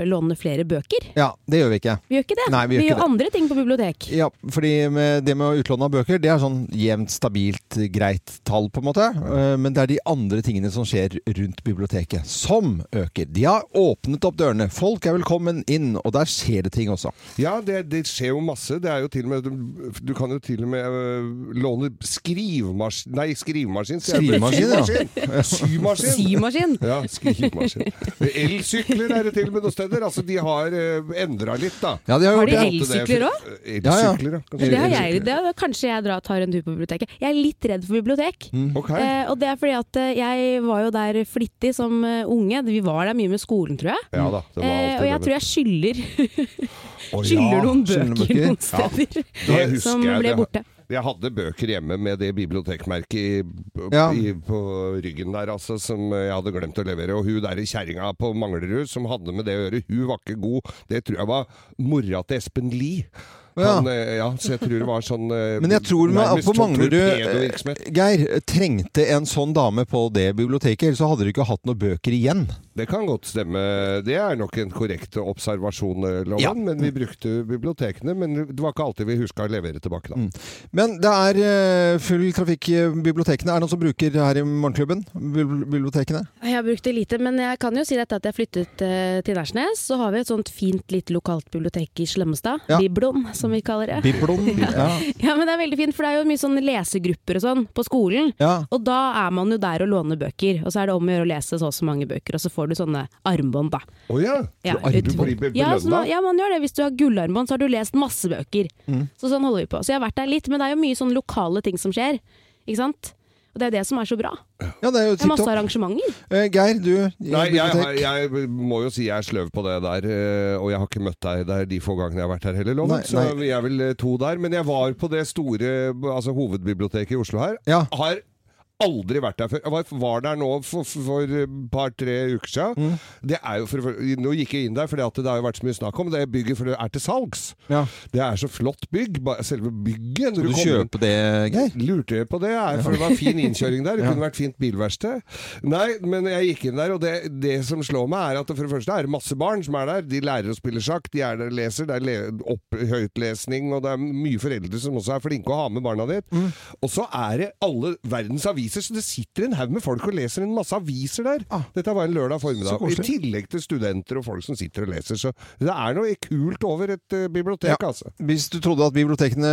låne flere bøker?
Ja, det gjør vi ikke.
Vi gjør ikke det.
Nei, vi gjør ikke det.
andre ting på bibliotek.
Ja, fordi med det med å utlåne av bøker, det er sånn jevnt, stabilt, greit tall, på en måte. Eh, Men det er de andre tingene som skjer rundt biblioteket, som øker. De har åpnet opp dørene. Folk er velkommen inn, og der skjer det ting også.
Ja, det, det skjer jo masse. Det er jo til og med, du, du kan jo til og med øh, låne skrivemaskin Nei, skrivemaskin. sier jeg.
Skrivemaskin, ja.
Symaskin. Symaskin.
Symaskin.
Ja, skrivemaskin. Elsykler er det til og med noen steder. Altså, de har øh, endra litt, da.
Ja, de har
Har de elsykler òg?
Elsykler, ja.
Det har jeg. Det er, kanskje jeg drar, tar en tur på biblioteket. Jeg er litt redd for bibliotek.
Mm. Ok.
Eh, og det er fordi at eh, jeg var jo der flittig som eh, unge. Vi var der mye med skolen, tror jeg.
Ja da, det var
eh,
alltid
og
det,
jeg tror jeg skylder,
Å,
skylder
ja.
noen bøker
Skylder bøker.
noen
Ja.
steder
Det husker
som
jeg,
ble
det-
borte.
Jeg hadde bøker hjemme med det bibliotekmerket i,
Ja.
i, på ryggen der, altså, som jeg hadde glemt å levere. Og hun der i kjerringa på Manglerud som hadde med det å gjøre, hun var ikke god. Det tror jeg var mora til Espen Lie. Han, eh, ja, så jeg tror det var sånn eh,
Men jeg tror man,
nærmest
på
sånn
Manglerud
torpedovirksomhet.
eh, Geir, trengte en sånn dame på det biblioteket, ellers så hadde de ikke hatt noen bøker igjen.
Det kan godt stemme. Det er nok en korrekt observasjon, eh, Loven.
Ja.
Men vi brukte bibliotekene, men det var ikke alltid vi huska å levere tilbake,
Mm.
da.
Men det er eh, full trafikk i bibliotekene. Er det noen som bruker her i Morgenklubben? Bibli- Bibliotekene?
Jeg har brukt det lite, men jeg kan jo si dette at jeg flyttet eh, til Nærsnes. Så har vi et sånt fint lite lokalt bibliotek i Slemmestad.
Ja.
Biblon, som vi kaller det.
Biblon,
ja.
ja.
ja, men det er veldig fint, for det er jo mye sånn lesegrupper og sånn på skolen.
Ja.
Og da er man jo der og låner bøker, og så er det om å gjøre å lese så og så mange bøker, og så får du sånne armbånd, da.
Å ja!
Ja,
Du
ut-
blir belønna?
ja, så man, ja, man gjør det. Hvis du har gullarmbånd, så har du lest masse bøker.
Mm.
Så sånn holder vi på. Så jeg har vært der litt, men det er jo mye sånn lokale ting som skjer. Ikke sant? Og det er jo det som er så bra.
Ja, det er
Det
jo
er
tipp
masse
topp.
arrangementer.
Eh, Geir, du i
Nei, jeg,
bibliotek?
har- jeg må jo si jeg er sløv på det der, eh, og jeg har ikke møtt deg der de få gangene jeg har vært her heller,
Nei,
Loven. Så vi er vel eh, to der. Men jeg var på det store altså, hovedbiblioteket i Oslo her. Har aldri vært der før. Jeg var, var der nå for, for et par-tre uker siden.
Mm.
Det er jo for, for, nå gikk jeg inn der, for det har jo vært så mye snakk om det bygget, for det er til salgs. Det er så flott bygg. ba- Selve bygget. når
Skal du
kommer inn-
kjøpe det, Geir?
Lurte jeg på det, jeg, for det var fin innkjøring der. Det kunne vært fint bilverksted. Nei, men jeg gikk inn der, og det, det som slår meg, er at det for det første er det masse barn som er der. De lærer å spille sjakk, de er der og leser. Det er le opp høytlesning, og det er mye foreldre som også er flinke å ha med barna dit.
Mm.
Og så er det alle verdens aviser, så det sitter en haug med folk og leser en masse aviser der. Dette var en lørdag
Ah. Så
formiddag. I
koselig.
tillegg til studenter og folk som sitter og leser. Så det er noe kult over et eh, bibliotek, altså.
Hvis du trodde at bibliotekene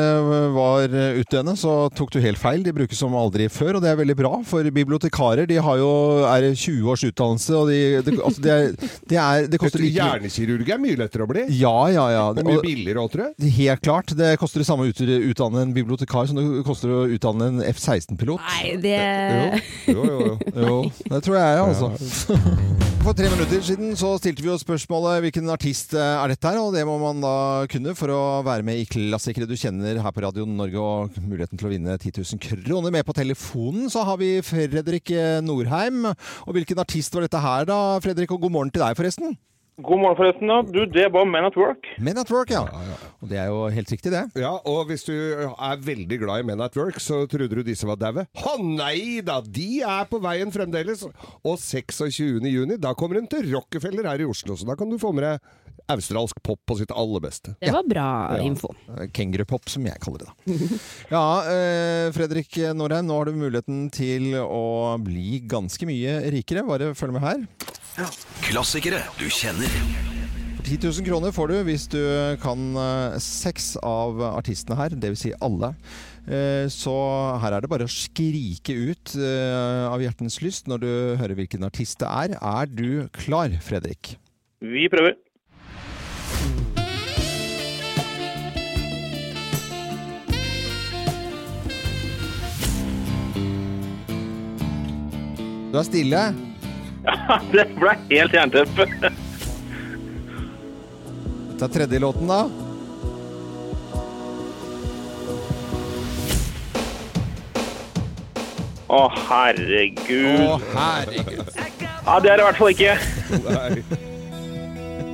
var utdøende, så tok du helt feil. De brukes som aldri før, og det er veldig bra. For bibliotekarer de har jo, er det 20 års utdannelse, og de, det, altså det, er, det, er, det koster like mye-
Hjernekirurg er mye lettere å bli.
Ja, ja, ja.
Og mye billigere òg, tror jeg.
Helt klart. Det koster det samme å ut- utdanne en bibliotekar som det koster å utdanne en F-16-pilot.
Nei, det
Jo, jo, jo.
det tror jeg, altså. For tre minutter siden så stilte vi jo spørsmålet hvilken artist eh, er dette her, og det må man da kunne for å være med i Klassikere du kjenner her på Radio Norge og muligheten til å vinne 10 000 kroner. Med på telefonen så har vi Fredrik eh, Norheim. Og hvilken artist var dette her da, Fredrik? Og god morgen til deg forresten.
God morgen, forresten. da. Du, Det var Man at Work.
Men at work, ja. Og det er jo helt riktig, det.
Ja, og hvis du er veldig glad i Men at Work, så trodde du disse var daue. Å nei da, de er på veien fremdeles! Og 26. juni, da kommer hun til Rockefeller her i Oslo, så da kan du få med deg australsk pop på sitt aller beste.
Det var bra info.
Kengurupop, som jeg kaller det. da. Ja, eh, Fredrik Norheim, nå har du muligheten til å bli ganske mye rikere. Bare følg med her.
Klassikere du kjenner.
10 000 kroner får du hvis du kan eh, seks av artistene her, dvs. Si alle. Eh, Så her er det bare å skrike ut eh, av hjertens lyst når du hører hvilken artist det er. Er du klar, Fredrik?
Vi prøver.
Du er stille.
Ja, det ble helt jernteppe.
Dette er tredje låten, da.
Å, herregud.
Å, herregud.
Ja, det er det i hvert fall ikke.
Nei.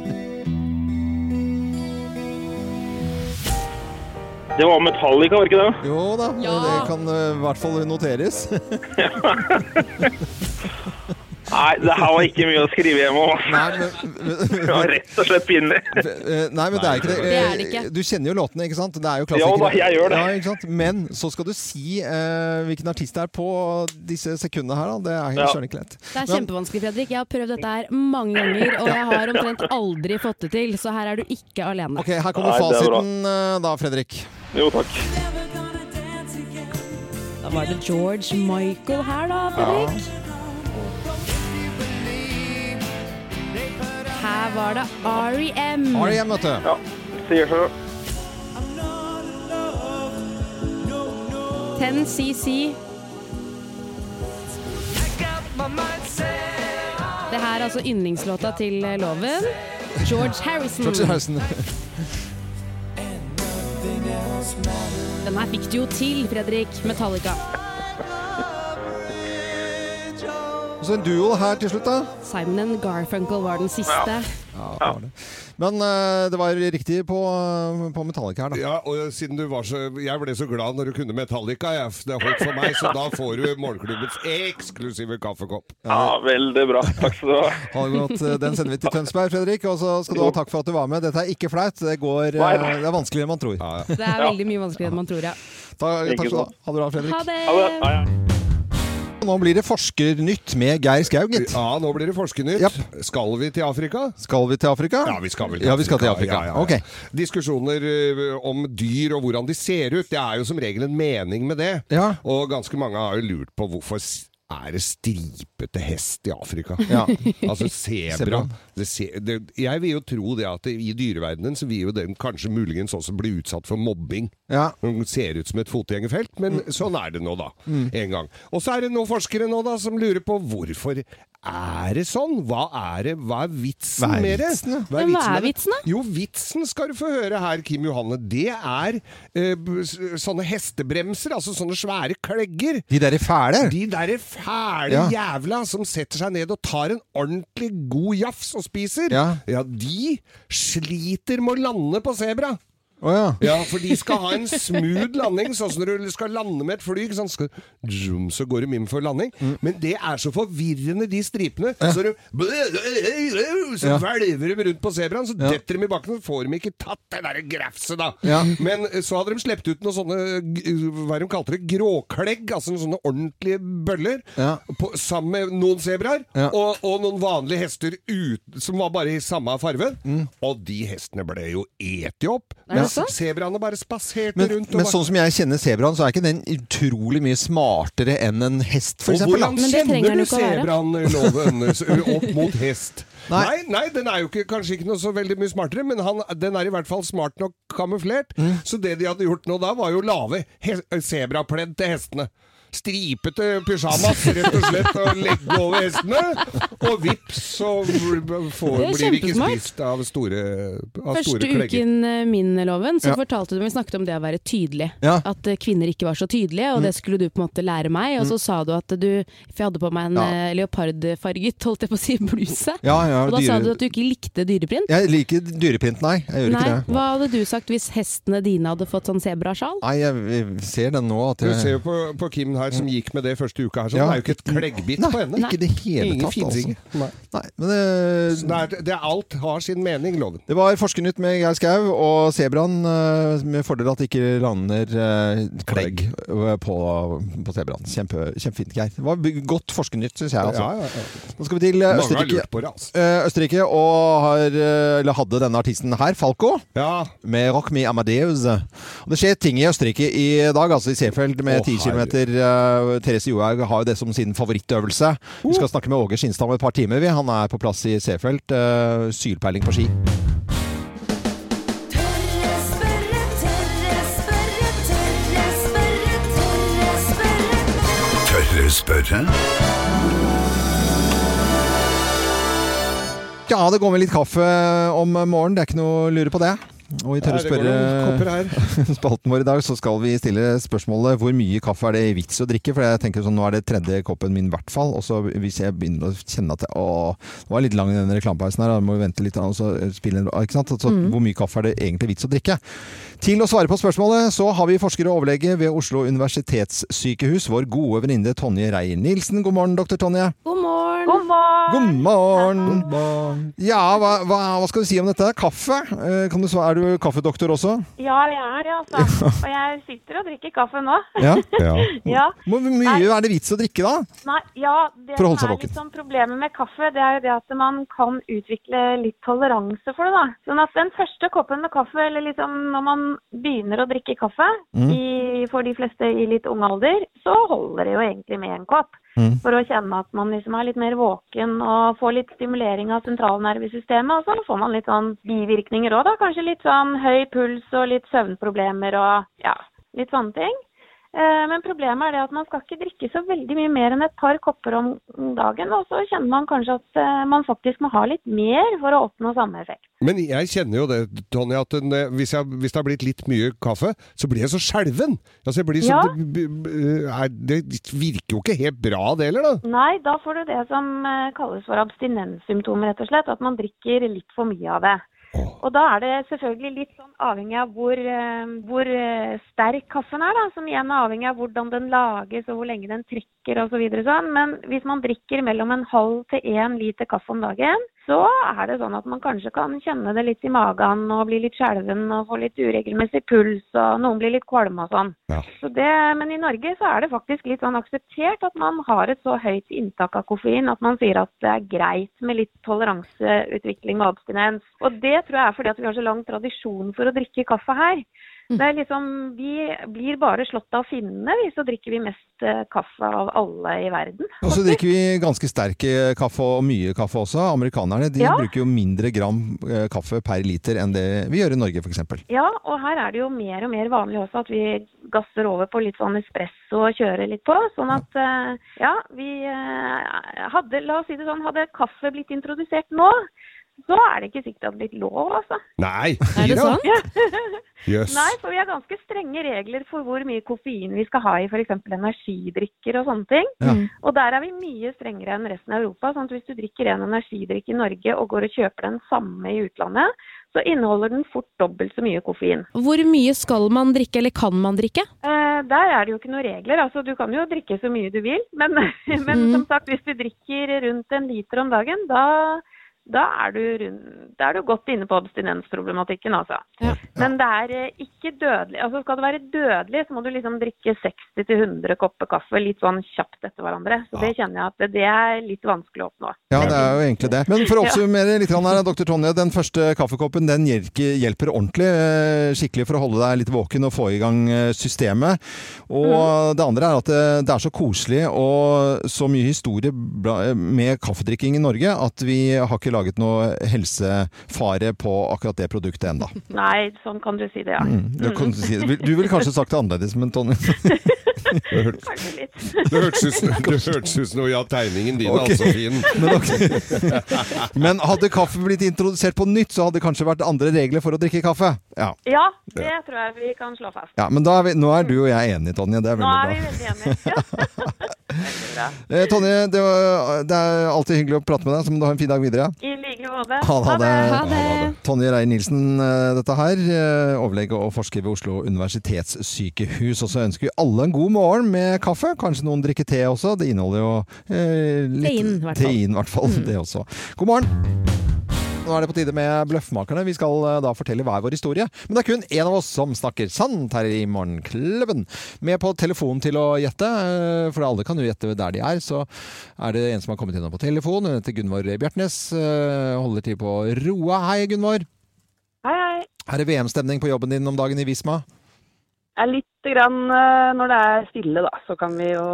Det var Metallica, var det ikke det?
Jo da, det kan eh, i hvert fall noteres.
Nei, det her var ikke mye å skrive hjem om. altså. Det var rett og slett pinlig.
Eh, Nei, men det er ikke det.
Det er det ikke.
Eh, Du kjenner jo låtene, ikke sant? Det er
Jo
jo
da,
klassikere.
jeg gjør det.
Ja, ikke sant? Men så skal du si eh, hvilken artist det er på disse sekundene her, da. Det er
Ja.
helt søren ikke lett.
Det er
Men-
kjempevanskelig, Fredrik. Jeg har prøvd dette her mange ganger, og jeg har omtrent aldri fått det til, så her er du ikke alene.
Ok, her kommer fasiten eh, da, Fredrik.
Jo, takk.
Da var det George Michael her, da, Fredrik. Her var det E R.E.M.
R.E.M., vet du.
Sier så.
10cc. Det her er altså yndlingslåta til eh, Loven. George Harrison.
George Harrison.
Den her fikk du jo til, Fredrik. Metallica.
Og så en duo her til slutt, da.
Simon and Garfunkel var den siste.
Ja, det var det. Men eh, det var riktig på, på Metallica her, da.
Ja, og siden du var så Jeg ble så glad når du kunne Metallica. Jeg, det holdt for meg, så da får du Morgenklubbens eksklusive kaffekopp.
Ja, veldig bra. Takk skal du ha.
Ha det godt. eh, Den sender vi til Tønsberg, Fredrik. Og så skal du ha takk for at du var med. Dette er ikke flaut. Det, går,
Nei,
eh,
nei.
det er vanskeligere enn man tror.
Det er veldig mye vanskeligere enn man tror, ja.
Takk, takk skal du ha. Ha det bra, Fredrik.
Ha det!
Nå blir det Forskernytt med Geir Skau, gitt.
Ja, nå blir det Forskernytt. Skal vi til Afrika?
Skal vi til Afrika?
Ja, vi skal vel
Ja, vi skal til Afrika. Ok.
Diskusjoner ø, om dyr og hvordan de ser ut, det er jo som regel en mening med det. Og ganske mange har jo lurt på hvorfor s- er det stripete hest i Afrika?
Ja.
Altså sebra.
Sebraen.
Det se- det- Jeg vil jo tro det at i dyreverdenen så vil jo den kanskje muligens også bli utsatt for mobbing. Den ser ut som et fotgjengerfelt, men sånn er det nå da.
Mm.
En gang. Og så er det noen forskere nå da som lurer på hvorfor er det sånn? Hva er det? Hva er vitsen
Hva er
med det?
vitsen, da?
Hva
Ja,
er vitsen,
hva er
med det?
vitsen, da?
Jo, vitsen skal du få høre her, Kim Johanne. Det er eh, b- s- sånne hestebremser, altså sånne svære klegger.
De derre fæle?
De derre fæle
Ja.
jævla som setter seg ned og tar en ordentlig god jafs og spiser.
Ja.
de sliter med å lande på sebra.
Å ja.
Ja, for de skal ha en smooth landing, sånn som når du skal lande med et fly. ikke sant? Skal, zoom, så går de inn for landing. Men det er så forvirrende, de stripene. Så, du, så
Ja.
hvelver de rundt på sebraen, så
Ja.
detter de i bakken, så får de ikke tatt det derre grafset, da.
Ja.
Men eh, så hadde de sluppet ut noen sånne g- hva de kalte det, gråklegg, altså noen sånne ordentlige bøller,
Ja.
på, sammen med noen sebraer,
Ja.
og, og noen vanlige hester ut, som var bare i samme fargen.
Mm.
Og de hestene ble jo eti opp.
Er det
mens
sant?
Sebraene bare spaserte
Men,
rundt. og
men
bare-
sånn som jeg kjenner sebraen, så er ikke den utrolig mye smartere enn en hest, for
og
eksempel. da.
hvordan kjenner du sebraen-loven opp mot hest? Nei.
Nei.
Nei, den er jo ikke, kanskje ikke noe så veldig mye smartere, men han, den er i hvert fall smart nok kamuflert.
Mm.
Så det de hadde gjort nå da, var jo å lage he- sebrapledd til hestene. Stripete pysjamas, rett og slett, og legge over hestene. Og vips, så bl- bl- får,
Det er
blir vi ikke
kjempesmart.
spist av store, av store
Første
klegger.
uken eh, min, Loven, så
Ja.
fortalte du vi snakket om det å være tydelig.
Ja. Mm.
At eh, kvinner ikke var så tydelige, og det skulle du på en måte lære meg. Og så sa du at du For jeg hadde på meg en
Ja.
eh, leopardfarget, holdt jeg på å si, bluse.
Ja, ja,
og da sa
dyre-
du at du ikke likte dyreprint.
Jeg liker dyreprint, nei. Jeg gjør
Nei,
ikke det.
Hva hadde du sagt hvis hestene dine hadde fått sånn sebrasjal?
Nei, jeg, jeg ser den nå at
Du
jeg
ser jo på, på Kim her som gikk med det første uka her, så
Eh. Ja.
det er jo ikke et kleggbit på henne.
Ikke i det hele
Ingen
tatt, altså.
finsinger. Nei.
men eh, det,
det, er alt har sin mening, loven.
Det var Forskernytt med Geir Skau og Sebraen. eh, Med fordel at det ikke lander eh, klegg eh, på, på Sebraen. Kjempe, kjempefint, Geir. Det var by- godt Forskernytt, syns jeg. Altså.
Ja, ja, ja.
Nå skal vi til eh,
Mange har
Østerrike.
lurt på det, altså.
Eh, Østerrike og har, eh, eller hadde denne artisten her, Falco, med 'Rock Me Amadeus'. Og det skjer ting i Østerrike i dag, altså i Seefeld med
Å,
10 km. Therese Johaug har jo det som sin favorittøvelse. Vi
Uh.
skal snakke med Åge Skinstad om et par timer. vi. Han er på plass i Seefeld. eh, Sylpeiling på ski.
Tørre spørre?
Ja, det går med litt kaffe om morgenen. Det er ikke noe å lure på det. Og i tørre
Nei, det går noen kopper
spørre-spalten vår i dag, så skal vi stille spørsmålet hvor mye kaffe er det vits å drikke? For jeg tenker sånn, nå er det tredje koppen min i hvert fall. Og så hvis jeg begynner å kjenne at jeg, å, det var litt lang den reklamepausen her, da må vi vente litt, og så spille en ikke sant? Så,
Mm.
Hvor mye kaffe er det egentlig vits å drikke? Til å svare på spørsmålet så har vi forsker og overlege ved Oslo universitetssykehus, vår gode venninne Tonje Reier-Nilsen. God morgen, doktor Tonje.
God morgen.
God morgen. Ja, hva, hva, hva skal vi si om dette? Kaffe? Eh, Kan du, sva- er du kaffedoktor også?
Ja, jeg er det, altså. Og jeg sitter og drikker kaffe nå. Ja.
Hvor hvor mye er det vits å drikke, da?
Nei, ja, det
For å holde
som
seg
er
våken.
liksom problemet med kaffe, det er jo det at man kan utvikle litt toleranse for det, da. Sånn at den første koppen med kaffe, eller liksom når man begynner å drikke kaffe,
Mm.
i, for de fleste i litt ung alder, så holder det jo egentlig med en kopp.
Mm.
For å kjenne at man liksom er litt mer våken og får litt stimulering av sentralnervesystemet. Og så får man litt sånn bivirkninger òg, da. Kanskje litt sånn høy puls og litt søvnproblemer og ja, litt sånne ting. Eh, Men problemet er det at man skal ikke drikke så veldig mye mer enn et par kopper om dagen. Og så kjenner man kanskje at eh, man faktisk må ha litt mer for å oppnå samme effekt.
Men jeg kjenner jo det, Tonje, at den, eh, hvis, jeg, hvis det har blitt litt mye kaffe, så blir jeg så skjelven. Altså, jeg blir så,
Ja.
det, b- b- er, det virker jo ikke helt bra, det heller, da.
Nei, da får du det som eh, kalles for abstinenssymptomer, rett og slett. At man drikker litt for mye av det. Og da er det selvfølgelig litt sånn avhengig av hvor, eh, hvor eh, sterk kaffen er, da. Som igjen er avhengig av hvordan den lages og hvor lenge den trekker osv. Så videre sånn. Men hvis man drikker mellom en halv til én liter kaffe om dagen, så er det sånn at man kanskje kan kjenne det litt i magen og bli litt skjelven og få litt uregelmessig puls og noen blir litt kvalme og sånn. Så det, men i Norge så er det faktisk litt sånn akseptert at man har et så høyt inntak av koffein at man sier at det er greit med litt toleranseutvikling og abstinens. Og det tror jeg er fordi at vi har så lang tradisjon for å drikke kaffe her. Det er liksom, Vi blir bare slått av finnene, vi, så drikker vi mest eh, kaffe av alle i verden.
Og så drikker vi ganske sterk eh, kaffe og mye kaffe også. Amerikanerne de
Ja.
bruker jo mindre gram eh, kaffe per liter enn det vi gjør i Norge, f.eks.
Ja, og her er det jo mer og mer vanlig også at vi gasser over på litt sånn espresso og kjører litt på. Sånn at eh, ja, vi eh, hadde La oss si det sånn, hadde kaffe blitt introdusert nå, så er det ikke sikkert at det hadde blitt lov, altså.
Nei!
Ja.
Jøss.
Nei, for vi har ganske strenge regler for hvor mye koffein vi skal ha i f.eks. energidrikker og sånne ting.
Ja.
Og der er vi mye strengere enn resten av Europa. sånn at hvis du drikker en energidrikk i Norge og går og kjøper den samme i utlandet, så inneholder den fort dobbelt så mye koffein.
Hvor mye skal man drikke, eller kan man drikke?
Eh, der er det jo ikke noen regler. altså Du kan jo drikke så mye du vil, men, men som sagt, hvis du drikker rundt en liter om dagen, da, da, er, du rund, da er du godt inne på abstinensproblematikken, altså. Men det er eh, ikke dødelig. altså Skal det være dødelig, så må du liksom drikke 60-100 kopper kaffe litt sånn kjapt etter hverandre. Så det kjenner jeg at det er litt vanskelig å oppnå.
Ja, det er jo egentlig det. Men for å oppsummere litt grann her, dr. Tonje. Den første kaffekoppen den hjelker- hjelper ordentlig. eh, Skikkelig for å holde deg litt våken og få i gang eh, systemet. Og det andre er at det, det er så koselig og så mye historie bla- eh, med kaffedrikking i Norge at vi har ikke laget noe helsefare på akkurat det produktet ennå.
Nei, sånn kan du si det, ja.
Mm. Du, kan si, du ville kanskje sagt det annerledes, men Tonje
Kanskje litt.
Det hørtes ut som- det hørtes ut som noe ja, tegningen din,
Ok.
altså, fin.
Men Men hadde kaffe blitt introdusert på nytt, så hadde det kanskje vært andre regler for å drikke kaffe. Ja.
Ja, det tror jeg vi kan slå fast.
Ja, men da er vi, nå er du og jeg enige, Tonje. Det er
Nå
veldig
er
bra.
vi veldig enige.
Eh, Tonje, det, var, det er alltid hyggelig å prate med deg, så må du ha en fin dag videre.
I like måte.
Ha det.
Ha det.
Tonje Reier Nilsen, eh, dette her. eh, Overlege og forsker ved Oslo universitetssykehus. Og så ønsker vi alle en god morgen med kaffe. Kanskje noen drikker te også. Det inneholder jo eh,
Tein,
litt
i hvert fall. Mm.
tein, i hvert fall. Det også. God morgen! Nå er det på tide med Bløffmakerne. Vi skal eh, da fortelle hver vår historie. Men det er kun én av oss som snakker sant her i Morgenklubben. Med på telefonen til å gjette, eh, for alle kan jo gjette der de er. Så er det en som har kommet innom på telefon. Hun heter Gunvor Bjertnæs. eh, Holder til på Roa. Hei, Gunvor.
Hei, hei.
Er det VM-stemning på jobben din om dagen i Visma?
Det er lite grann eh, Når det er stille, da, så kan vi jo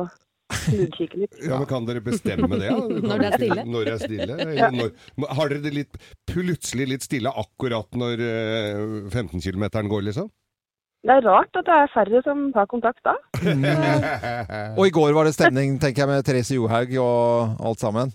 snudkikke litt.
Ja, men Kan dere bestemme det? Ja? Du kan
Når det er
ikke-
stille.
Når det er stille? eller
Ja.
Når, har dere det litt, plutselig litt stille akkurat når eh, 15 km går, liksom?
Det er rart at det er færre som tar kontakt da.
Og i går var det stemning, tenker jeg, med Therese Johaug og alt sammen.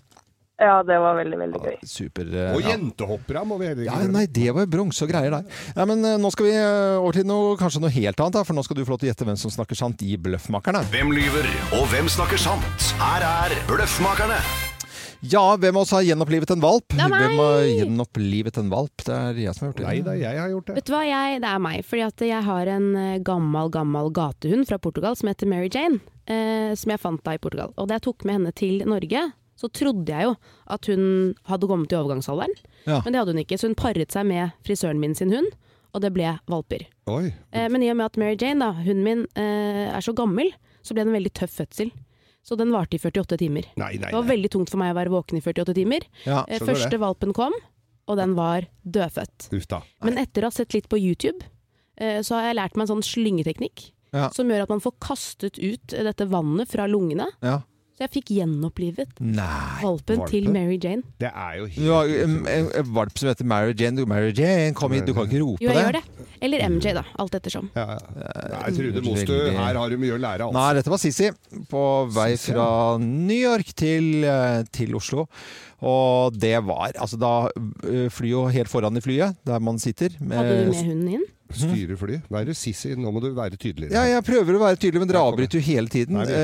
Ja, det var veldig, veldig gøy.
Super. eh,
Og
ja.
jentehoppere må vi heller
Ja,
ikke glemme.
nei, det var jo bronse og greier der. Nei, men eh, nå skal vi eh, over til noe, kanskje noe helt annet, da, for nå skal du få lov til å gjette hvem som snakker sant i Bløffmakerne.
Hvem lyver, og hvem snakker sant? Her er Bløffmakerne.
Ja, hvem av oss har gjenopplivet en valp?
Det er meg!
Hvem har gjenopplivet en valp? Det er jeg som har gjort det.
Nei, det er jeg har gjort det.
Vet du hva, jeg, det er meg. Fordi at jeg har en eh, gammel, gammel gatehund fra Portugal som heter Mary Jane. Eh, som jeg fant da i Portugal. Og da jeg tok med henne til Norge, så trodde jeg jo at hun hadde kommet i overgangsalderen.
Ja.
Men det hadde hun ikke, så hun paret seg med frisøren min sin hund, og det ble valper.
Oi.
Eh, men i og med at Mary Jane, da, hunden min, eh, er så gammel, så ble det en veldig tøff fødsel. Så den varte i 48 timer. det var veldig tungt for meg å være våken i 48 timer.
Ja,
Eh,
skjønner
Første
det.
valpen kom, og den var dødfødt.
Uff da.
Men etter å ha sett litt på YouTube, eh, så har jeg lært meg en sånn slyngeteknikk.
Ja.
Som gjør at man får kastet ut eh, dette vannet fra lungene.
Ja.
Så jeg fikk gjenopplivet
Mm. Nei.
valpen
valpen?
til Mary Jane.
Det er jo
Du har en, en, en valp som heter Mary Jane. Du, Mary Jane, kom hit, du kan ikke rope
Jo, jeg
det.
gjør det. Eller MJ, da. Alt ettersom.
Ja, Nei, Trude
eh, Veldig-
Mostø, her har du mye å lære, altså.
Nei, dette var Sissi på vei
Sissi,
fra New York til, eh, til Oslo. Og det var Altså, da eh, flyr jo helt foran i flyet, der man sitter. med-
Hadde du med hunden inn?
Styre fly. Være sissy. Nå må du være tydeligere.
hm. Ja, jeg prøver å være tydelig, men dere avbryter jo hele tiden.
Nei, det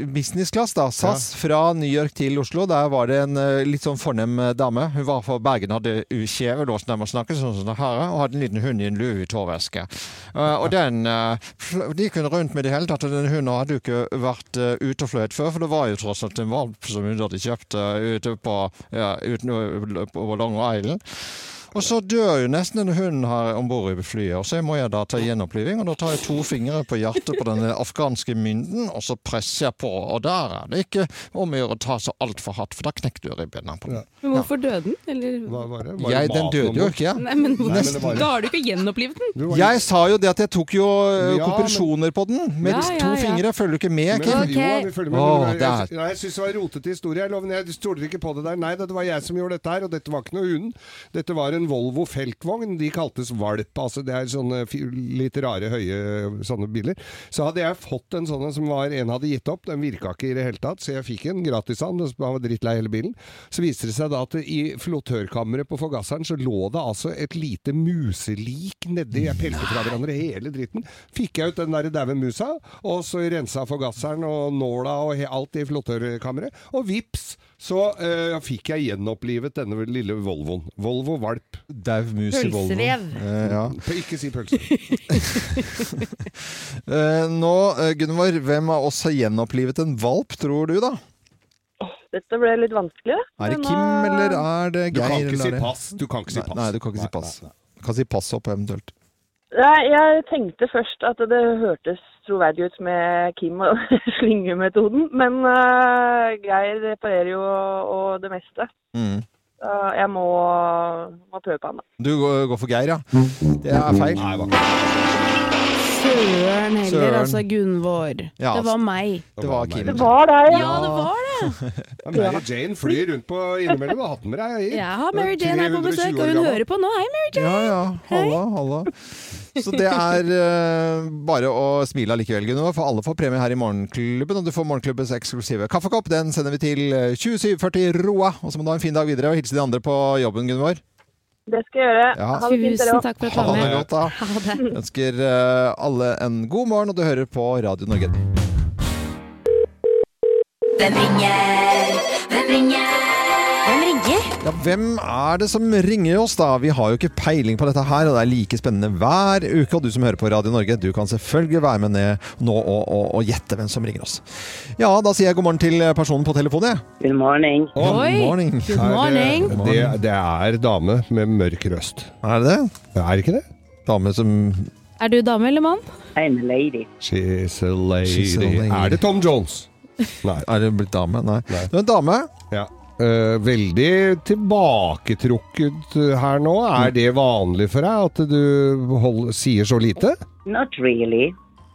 Eh, business class, da. SAS fra New York til Oslo. Der var det en eh, litt sånn fornem eh, dame. Hun var fra Bergen, hadde ukjeve låsen der man snakket sånn som det her, og hadde en liten hund i en lue i tåveske. Eh, og den eh, fl- De gikk hun rundt med i det hele tatt, og den hunden hadde jo ikke vært eh, ute og fløyet før, for det var jo tross alt en valp som hun hadde kjøpt eh, ute på, ja, uten, på Long Island. Og så dør jo nesten en hund her om bord i flyet, og så må jeg da ta gjenoppliving. Og da tar jeg to fingre på hjertet på den afghanske mynden, og så presser jeg på. Og der er det ikke om å gjøre å ta så altfor hardt, for da knekker du ribbena på den.
Men hvorfor døde den? Eller?
Var det Jeg- den maten døde jo om bord? ikke, jeg.
Nei, men,
Nei, men det var-
Da har du ikke gjenopplivet den!
Jeg sa jo det at jeg tok jo eh,
Ja, men-
kompresjoner på den med
Ja,
to
ja, ja.
fingre. Følger du ikke med,
Men-
Kim?
Jo, vi følger med.
Åh,
Jeg-
det er
Nei, jeg syns det var en rotete historie. Jeg lover, jeg stoler ikke på det der. Nei, det var jeg som gjorde dette her, og dette var ikke noe hund. Dette var en Volvo feltvogn. De kaltes valp. Altså, det er sånne fi- litt rare, høye sånne biler. Så hadde jeg fått en sånn en som var, en hadde gitt opp. Den virka ikke i det hele tatt, så jeg fikk en gratis av han. og så- Han var drittlei hele bilen. Så viste det seg da at i flottørkammeret på forgasseren så lå det altså et lite muselik nedi. Jeg pelte fra hverandre hele dritten. Fikk jeg ut den der daue musa, og så rensa forgasseren og nåla og he- alt i flottørkammeret. Og vips, så eh, fikk jeg gjenopplivet denne lille Volvoen. Volvo Valp.
Daud mus i Volvo.
Pølsevev.
Eh, ja.
Ikke si pølse.
Eh, nå, eh, Gunvor, hvem av oss har gjenopplivet en valp, tror du, da?
Dette ble litt vanskelig. da.
Er det
Men eh,
Kim,
nå-
eller er det
Du
Geir?
kan ikke
eller
si
er det-
pass. Du kan ikke si
Nei,
pass.
Nei, du kan ikke si pass. Du kan si pass opp, eventuelt.
Nei, jeg tenkte først at det hørtes troverdig ut med Kim og slyngemetoden, men eh, Geir reparerer jo og det meste.
Mm.
Så jeg må, må prøve på han, da.
Du går går for Geir, ja? Det er feil.
Søren heller,
Søren.
altså. Gunvor.
Ja,
det var meg.
Det var Kim.
Det
var deg,
ja. det var det!
Ja, Mary Jane flyr rundt på innimellom og har hatt med deg i.
Jeg har Mary Jane her på
320
besøk,
år
og hun
gammel.
hører på nå. Hei, Mary Jane!
Ja, ja. Halla, halla. Så det er eh, bare å smile allikevel, Gunnar, for alle får premie her i Morgenklubben. Og du får Morgenklubbens eksklusive kaffekopp. Den sender vi til eh, 2740 Roa. Og så må du ha en fin dag videre, og hilse de andre på jobben, Gunvor.
Det skal jeg gjøre.
Ja.
Ha det fint, dere
Tusen
også.
takk for at du
Ha
var
det
med.
godt, da.
Ha det.
Ønsker eh, alle en god morgen, og du hører på Radio Norge.
Hvem ringer? Hvem ringer? Hvem ringer?
Ja, hvem er det som ringer oss, da? Vi har jo ikke peiling på dette her, og det er like spennende hver uke. Og du som hører på Radio Norge, du kan selvfølgelig være med ned nå og, og, og gjette hvem som ringer oss. Ja, da sier jeg god morgen til personen på telefonen, jeg.
Good morning.
Oi, good morning. good morning.
Er det, det, det er dame med mørk røst.
Er det det?
Det er ikke det?
Dame som
Er du dame eller mann?
I'm a lady.
She's a lady.
She's a lady.
Er det Tom Jones? Nei.
Er det blitt dame? Nei. Du er en dame.
Ja. Eh, veldig tilbaketrukket eh, her nå. Er det vanlig for deg at du hold, sier så lite?
Not really.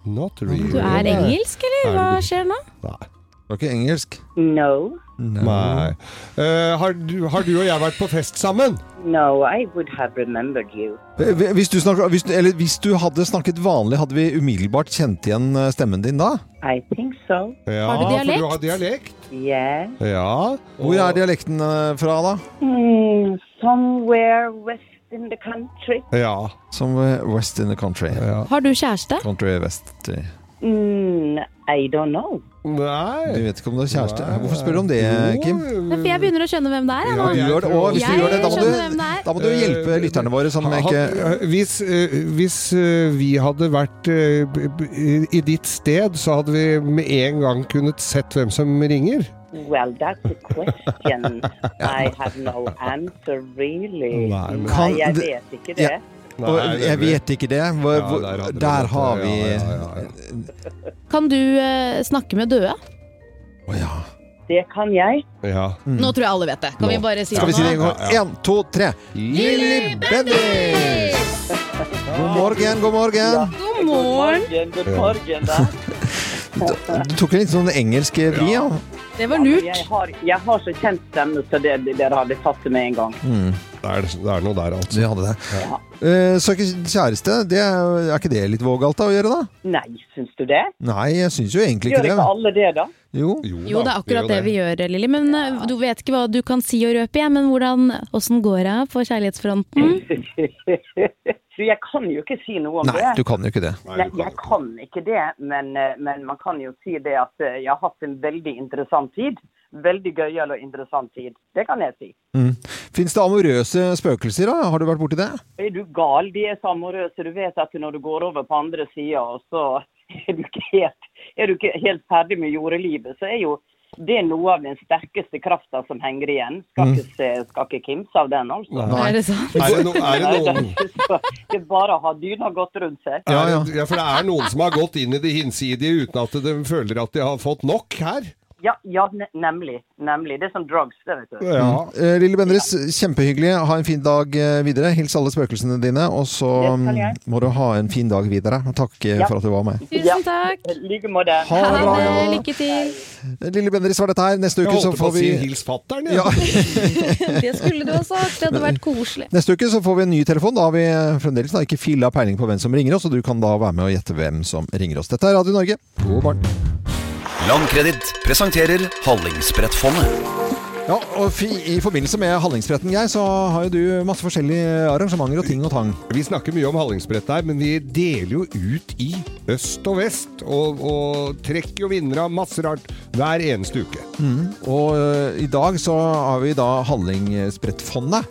Not really.
Du er engelsk, eller? Hva skjer nå?
Du er ikke engelsk?
No.
Nei. Eh, har, du, har du og jeg vært på fest sammen?
No, I would have remembered you.
Eh, Hvis du, snakker, hvis, du- eller hvis du hadde snakket vanlig, hadde vi umiddelbart kjent igjen eh, stemmen din da?
I think so.
Ja,
Har du
For
dialekt?
du har dialekt?
Yeah.
Ja.
Hvor er dialekten eh, fra, da?
Hmm, somewhere west in the country.
Ja.
Som eh, West in the country.
Har du kjæreste?
Country West. Du
Hmm, I don't know.
Nei.
vet ikke om du har kjæreste. Hvorfor spør du om det, Kim?
Nei, For jeg begynner å skjønne hvem det er. jeg,
Ja,
nå.
du gjør det, og hvis du
Jeg
gjør det, da må
skjønner hvem
du,
det er.
da må du
Eh,
hjelpe lytterne våre som ikke
Had- Hvis, eh, hvis eh, vi hadde vært eh, b- b- i ditt sted, så hadde vi med en gang kunnet sett hvem som ringer.
Well, that's a question. I have no answer, really.
Nei, men-
Nei, jeg
er Kan-
vet ikke
Ja.
det.
Og Jeg vet ikke det. Hvor,
Ja,
hvor,
der hadde du
der
det.
har vi
Ja,
Kan du eh, snakke med døde?
Det kan jeg.
Ja.
Mm.
Nå tror jeg alle vet det. Kan vi bare si
Skal vi
det
si det en
nå?
gang? Én, to, tre. Lilly Bendriss! God morgen, god morgen.
God morgen!
God morgen, da.
Du tok en litt sånn engelsk vri, ja.
Det var lurt.
Jeg har, jeg har så kjent stemme, så det, det- dere hadde tatt det med en gang.
Mm.
Det er, det er noe der, altså.
Du hadde det. Eh, Søke kjæreste, det er, er ikke det litt vågalt da, å gjøre, da?
Nei, syns du det?
Nei, jeg syns jo egentlig
Gjør
ikke
ikke
det.
alle det, da?
Jo.
Jo, det er akkurat det vi gjør, Lilly. Men eh, du vet ikke hva du kan si og røpe, jeg, men hvordan, åssen går det på kjærlighetsfronten?
Du, jeg kan jo ikke si noe om
Nei,
det.
du kan jo ikke det.
Nei, jeg kan ikke det, men, eh, men man kan jo si det at eh, jeg har hatt en veldig interessant tid. Veldig gøyal og interessant tid. Det kan jeg si.
Mm. Fins det amorøse spøkelser, da? Har du vært borti det?
Er du gal? De er så amorøse. Du vet at når du går over på andre sida, og så er du ikke helt, er du ikke helt ferdig med jordelivet, så er jo det noe av den sterkeste krafta som henger igjen. Skal ikke, se, skal ikke kimse av den, altså.
Nei. Er det sant? Er det no- er det noen-
Nei, det er bare å ha dyna godt rundt seg.
Ja, ja. for det er noen som har gått inn i det hinsidige uten at de føler at de har fått nok her.
Ja, ja, ne- nemlig. Nemlig. Det er som drugs, det, vet du.
Mm. Eh, Lille Bendriss, kjempehyggelig. Ha en fin dag eh, videre. Hils alle spøkelsene dine. Og så
Det skal jeg.
mm, må du ha en fin dag videre. Og takk eh,
Ja.
for at du var med.
Tusen takk. I like måte.
Ha det bra, ja.
Lykke til.
Lille Bendriss var dette her. Neste
Jeg
uke så
holdt på
får
å
vi
si hils fatter'n, jeg.
ja.
Det skulle du ha sagt, det hadde vært koselig.
Neste uke så får vi en ny telefon. Da har vi eh, fremdeles da ikke filla peiling på hvem som ringer oss, og du kan da være med og gjette hvem som ringer oss. Dette er Radio Norge. God morgen.
Landkreditt presenterer Hallingsbrettfondet.
Ja, og fi- I forbindelse med Hallingsbretten, Geir, så har jo du masse forskjellige arrangementer og ting og tang.
Vi snakker mye om Hallingsbrett der, men vi deler jo ut i øst og vest, og, og trekker jo vinnere av masse rart hver eneste uke.
Og ø, i dag så har vi da Hallingsbrettfondet.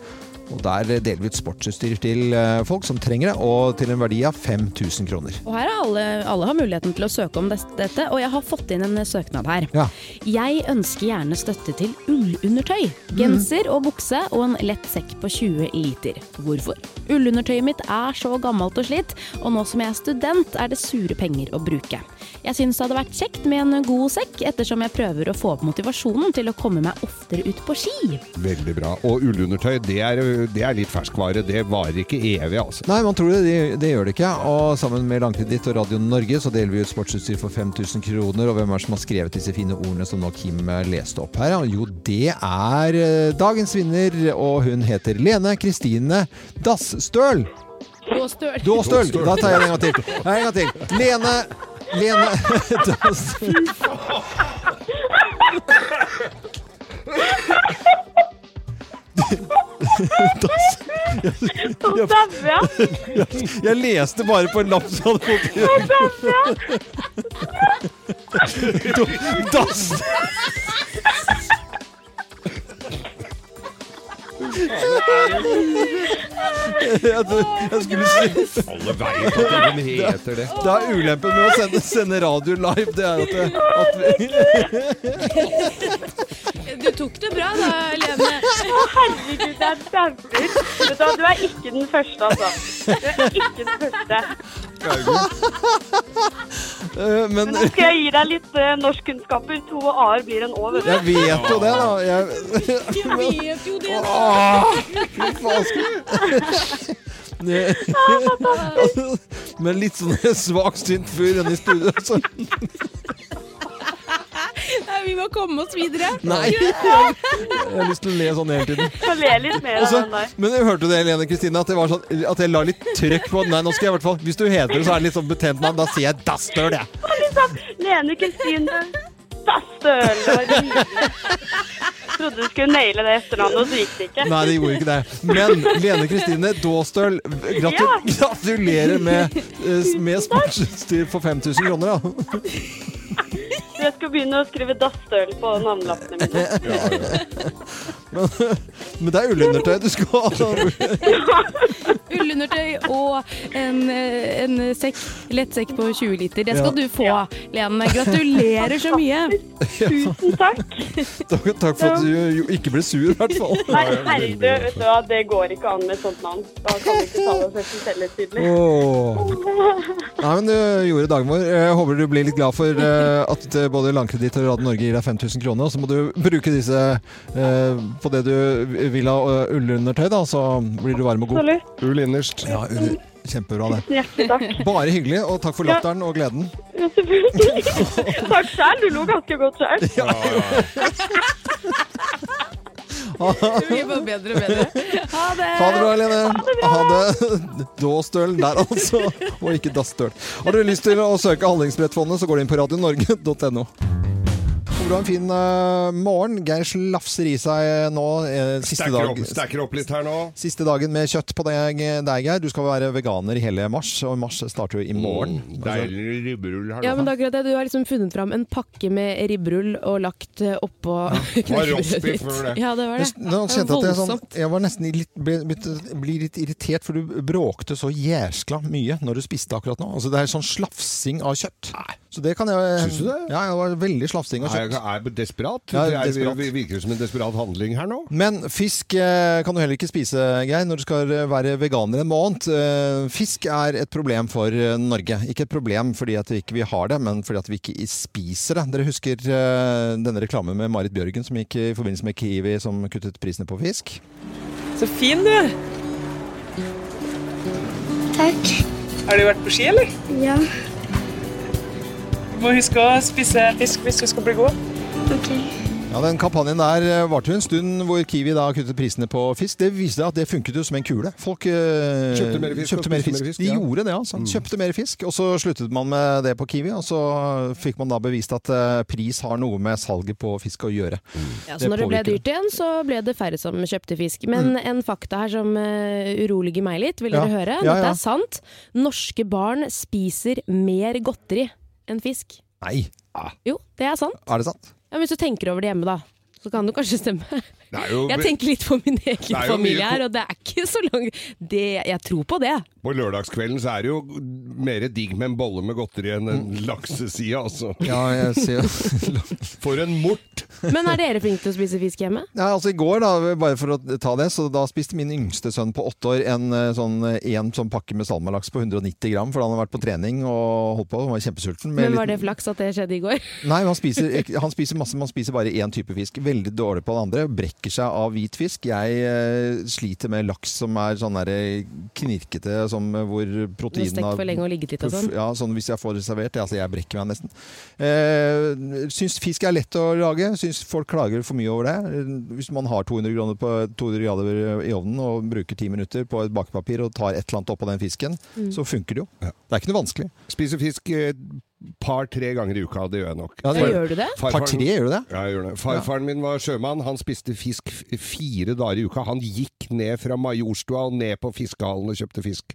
Og der deler vi ut sportsutstyr til ø, folk som trenger det, og til en verdi av 5000 kroner.
Og her er alle, alle har muligheten til å søke om des- dette, og jeg har fått inn en eh, søknad her.
Ja.
Jeg ønsker gjerne støtte til ullundertøy, genser og bukse og en lett sekk på 20 liter. Hvorfor? Ullundertøyet mitt er så gammelt og slitt, og nå som jeg er student er det sure penger å bruke. Jeg syns det hadde vært kjekt med en god sekk, ettersom jeg prøver å få opp motivasjonen til å komme meg oftere ut på ski.
Veldig bra. Og ullundertøy, det er, det er litt ferskvare. Det varer ikke evig, altså.
Nei, man tror det, det, det gjør det ikke. Og sammen med Langkreditt og Radio Norge så deler vi ut sportsutstyr for 5000 kroner. Og hvem er det som har skrevet disse fine ordene som nå Kim ø, leste opp her? Og Jo, det er ø, dagens vinner, og hun heter Lene Kristine Dassstøl.
Gåstøl.
Dåstøl! Da tar jeg det en gang til. Nei, en gang til. Lene Lene Dåstøl.
Nå dauer jeg.
Jeg leste bare på en lapp som hadde
Nå dauer jeg.
fått Dass. Jeg tror- jeg skulle si
Alle vet at den heter det.
Det er ulempen med å sende, sende radio live, det er at, det, at vi,
Du tok det bra da, Lene.
Å, herregud, jeg dauer. Vet du hva, du er ikke den første, altså. Du er ikke den første.
eh, Men
Men nå skal jeg gi deg litt eh, norskkunnskaper. To a-er blir en å, vet du.
jeg vet jo det, da. Jeg,
Jeg vet jo det.
Åh, fy faen. Men litt sånn svaksynt fyr inne i studio. Så.
Nei, vi må komme oss videre.
Nei, jeg, jeg har lyst til å le sånn hele tiden.
Få le litt mer
Og
av
så-
den der.
men hørte du det, Helene Kristine? At, det var sånn, at jeg la litt trøkk på Nei, nå skal jeg i hvert fall Hvis du heter det, så er det litt sånn betent navn. Da sier jeg Dastøl, jeg.
Og liksom, Lene Kristine Bastøl. Det var nydelig. Trodde du skulle naile det etternavnet, og så gikk det ikke.
Nei, det gjorde ikke det. Men Lene Kristine Daastøl,
Ja.
gratu gratulerer med, eh, med sportsutstyr for 5000 kroner, da.
Jeg skal begynne å skrive Dastøl på navnelappene mine.
Men, men det er ullundertøy du skal ha.
Ullundertøy og en, eh, en sekk, lettsekk på 20 liter. Det skal
Ja.
du få, Lene. Gratulerer så mye.
Tusen takk.
Takk, takk for at du jo ikke ble sur, i hvert fall.
Nei, herregud, vet du hva, det går ikke an med et sånt navn. Da kan vi ikke ta oss selv selv tydelig.
Åh. Nei, men du gjorde dagen vår. Jeg håper du blir litt glad for eh, at eh, både Landkreditt og Radio Norge gir deg 5000 kroner. Og så må du bruke disse eh, på det du vil ha eh, ullundertøy, da. Så blir du varm og god.
Absolutt.
Ull innerst. Ja, ull. Kjempebra, det.
Hjertelig takk.
Bare hyggelig, og takk for
Ja.
latteren og gleden.
Ja, selvfølgelig. Takk selv, du lo ganske godt selv.
Det blir bare bedre og bedre. Ha det.
Ha det bra, Helene. Ha det. Dåstøl der, altså. Og ikke dassstøl. Har du lyst til å søke Handlingsbrettfondet, så går du inn på radionorge.no. Håper du har en fin eh, morgen. Geir slafser i seg nå eh, siste,
Stacker opp,
dag,
stacker opp litt her nå.
siste dagen med kjøtt på deg, deg, Geir. Du skal være veganer i hele mars, og mars starter jo i morgen.
Mm, Deilig ribberull her nå.
Ja, men det er akkurat det. Du har liksom funnet fram en pakke med ribberull og lagt eh, oppå knekkebrødet
rostbiff,
ditt.
var det.
Ja, det var det.
Nå kjente jeg at jeg, sånn,
Voldsomt.
jeg var nesten i litt, ble, begynte å bli litt irritert, for du bråkte så jæskla mye når du spiste akkurat nå. Altså, det er sånn slafsing av kjøtt. Så det kan jeg
Syns du det?
Ja, det var veldig slafsing av
Er
kjøtt.
jeg er jeg desperat?
Ja,
Det er-
desperat.
Det virker som en desperat handling her nå.
Men fisk eh, kan du heller ikke spise, Geir, når du skal eh, være veganer en måned. Eh, Fisk er et problem for eh, Norge. Ikke et problem fordi at vi ikke vi har det, men fordi at vi ikke spiser det. Dere husker eh, denne reklamen med Marit Bjørgen som gikk i forbindelse med Kiwi som kuttet prisene på fisk?
Så fin du er. Takk. Har du vært på ski, eller?
Ja,
Du må huske å spise fisk hvis du skal bli god.
ok.
Ja, Den kampanjen der eh, varte jo en stund, hvor Kiwi da kuttet prisene på fisk. Det viste at det funket jo som en kule. Folk eh,
Kjøpte mer fisk og
kjøpte mer
spiste mer
fisk.
fisk,
De
ja. Mm.
gjorde det, altså. Kjøpte mer fisk. Og så sluttet man med det på Kiwi, og så fikk man da bevist at eh, pris har noe med salget på fisk å gjøre.
Mm. Ja, så når det ble
påvirker
dyrt igjen, så ble det færre som kjøpte fisk. Men en fakta her som eh, uroliger meg litt, vil
Mm. Ja.
dere høre?
Ja, ja.
Dette er sant. Norske barn spiser mer godteri enn fisk.
Nei,
Jo, det er sant.
er det sant?
Ja, men hvis du tenker over det hjemme, da. Så kan det kanskje stemme.
Det er jo-
jeg tenker litt på min
Det
egen
er jo mye
familie
ko-
her, og det er ikke så langt det, Jeg tror på det.
På lørdagskvelden så er det jo mer digg med en bolle med godteri enn en lakseside, altså.
Ja, jeg ser
For en mort!
Men er dere flinke til å spise fisk hjemme?
Ja, altså I går, da, bare for å ta det, så da spiste min yngste sønn på åtte år en eh, sånn, eh, en sånn pakke med salmalaks på 190 gram, for han hadde vært på trening og holdt på. Han var kjempesulten. med
Men var det
liten-
flaks at det skjedde i går?
Nei, han spiser, ikke- han spiser masse, man spiser bare én type fisk. Veldig dårlig på den andre. Brekker seg av hvit fisk. Jeg eh, sliter med laks som er sånn der eh, knirkete, som, eh, hvor proteinen
stekt
har-
for lenge og ligget litt og
Puff,
sånn.
Ja, sånn hvis jeg får det servert. Altså, jeg brekker meg nesten. Eh, syns fisk er lett å lage. Syns folk klager for mye over det. Eh, Hvis man har 200 grader, på, 200 grader i ovnen og bruker 10 minutter på et bakepapir og tar et eller annet oppå den fisken,
Mm.
så funker det jo. Det er ikke noe vanskelig.
Spiser fisk et par-tre ganger i uka, det gjør jeg nok.
Ja, det
Ja, gjør du det?
Farfaren-
Par-tre, gjør du det?
Ja, jeg gjør det. Farfaren min var sjømann, han spiste fisk f- fire dager i uka. Han gikk ned fra Majorstua og ned på fiskehallen og kjøpte fisk.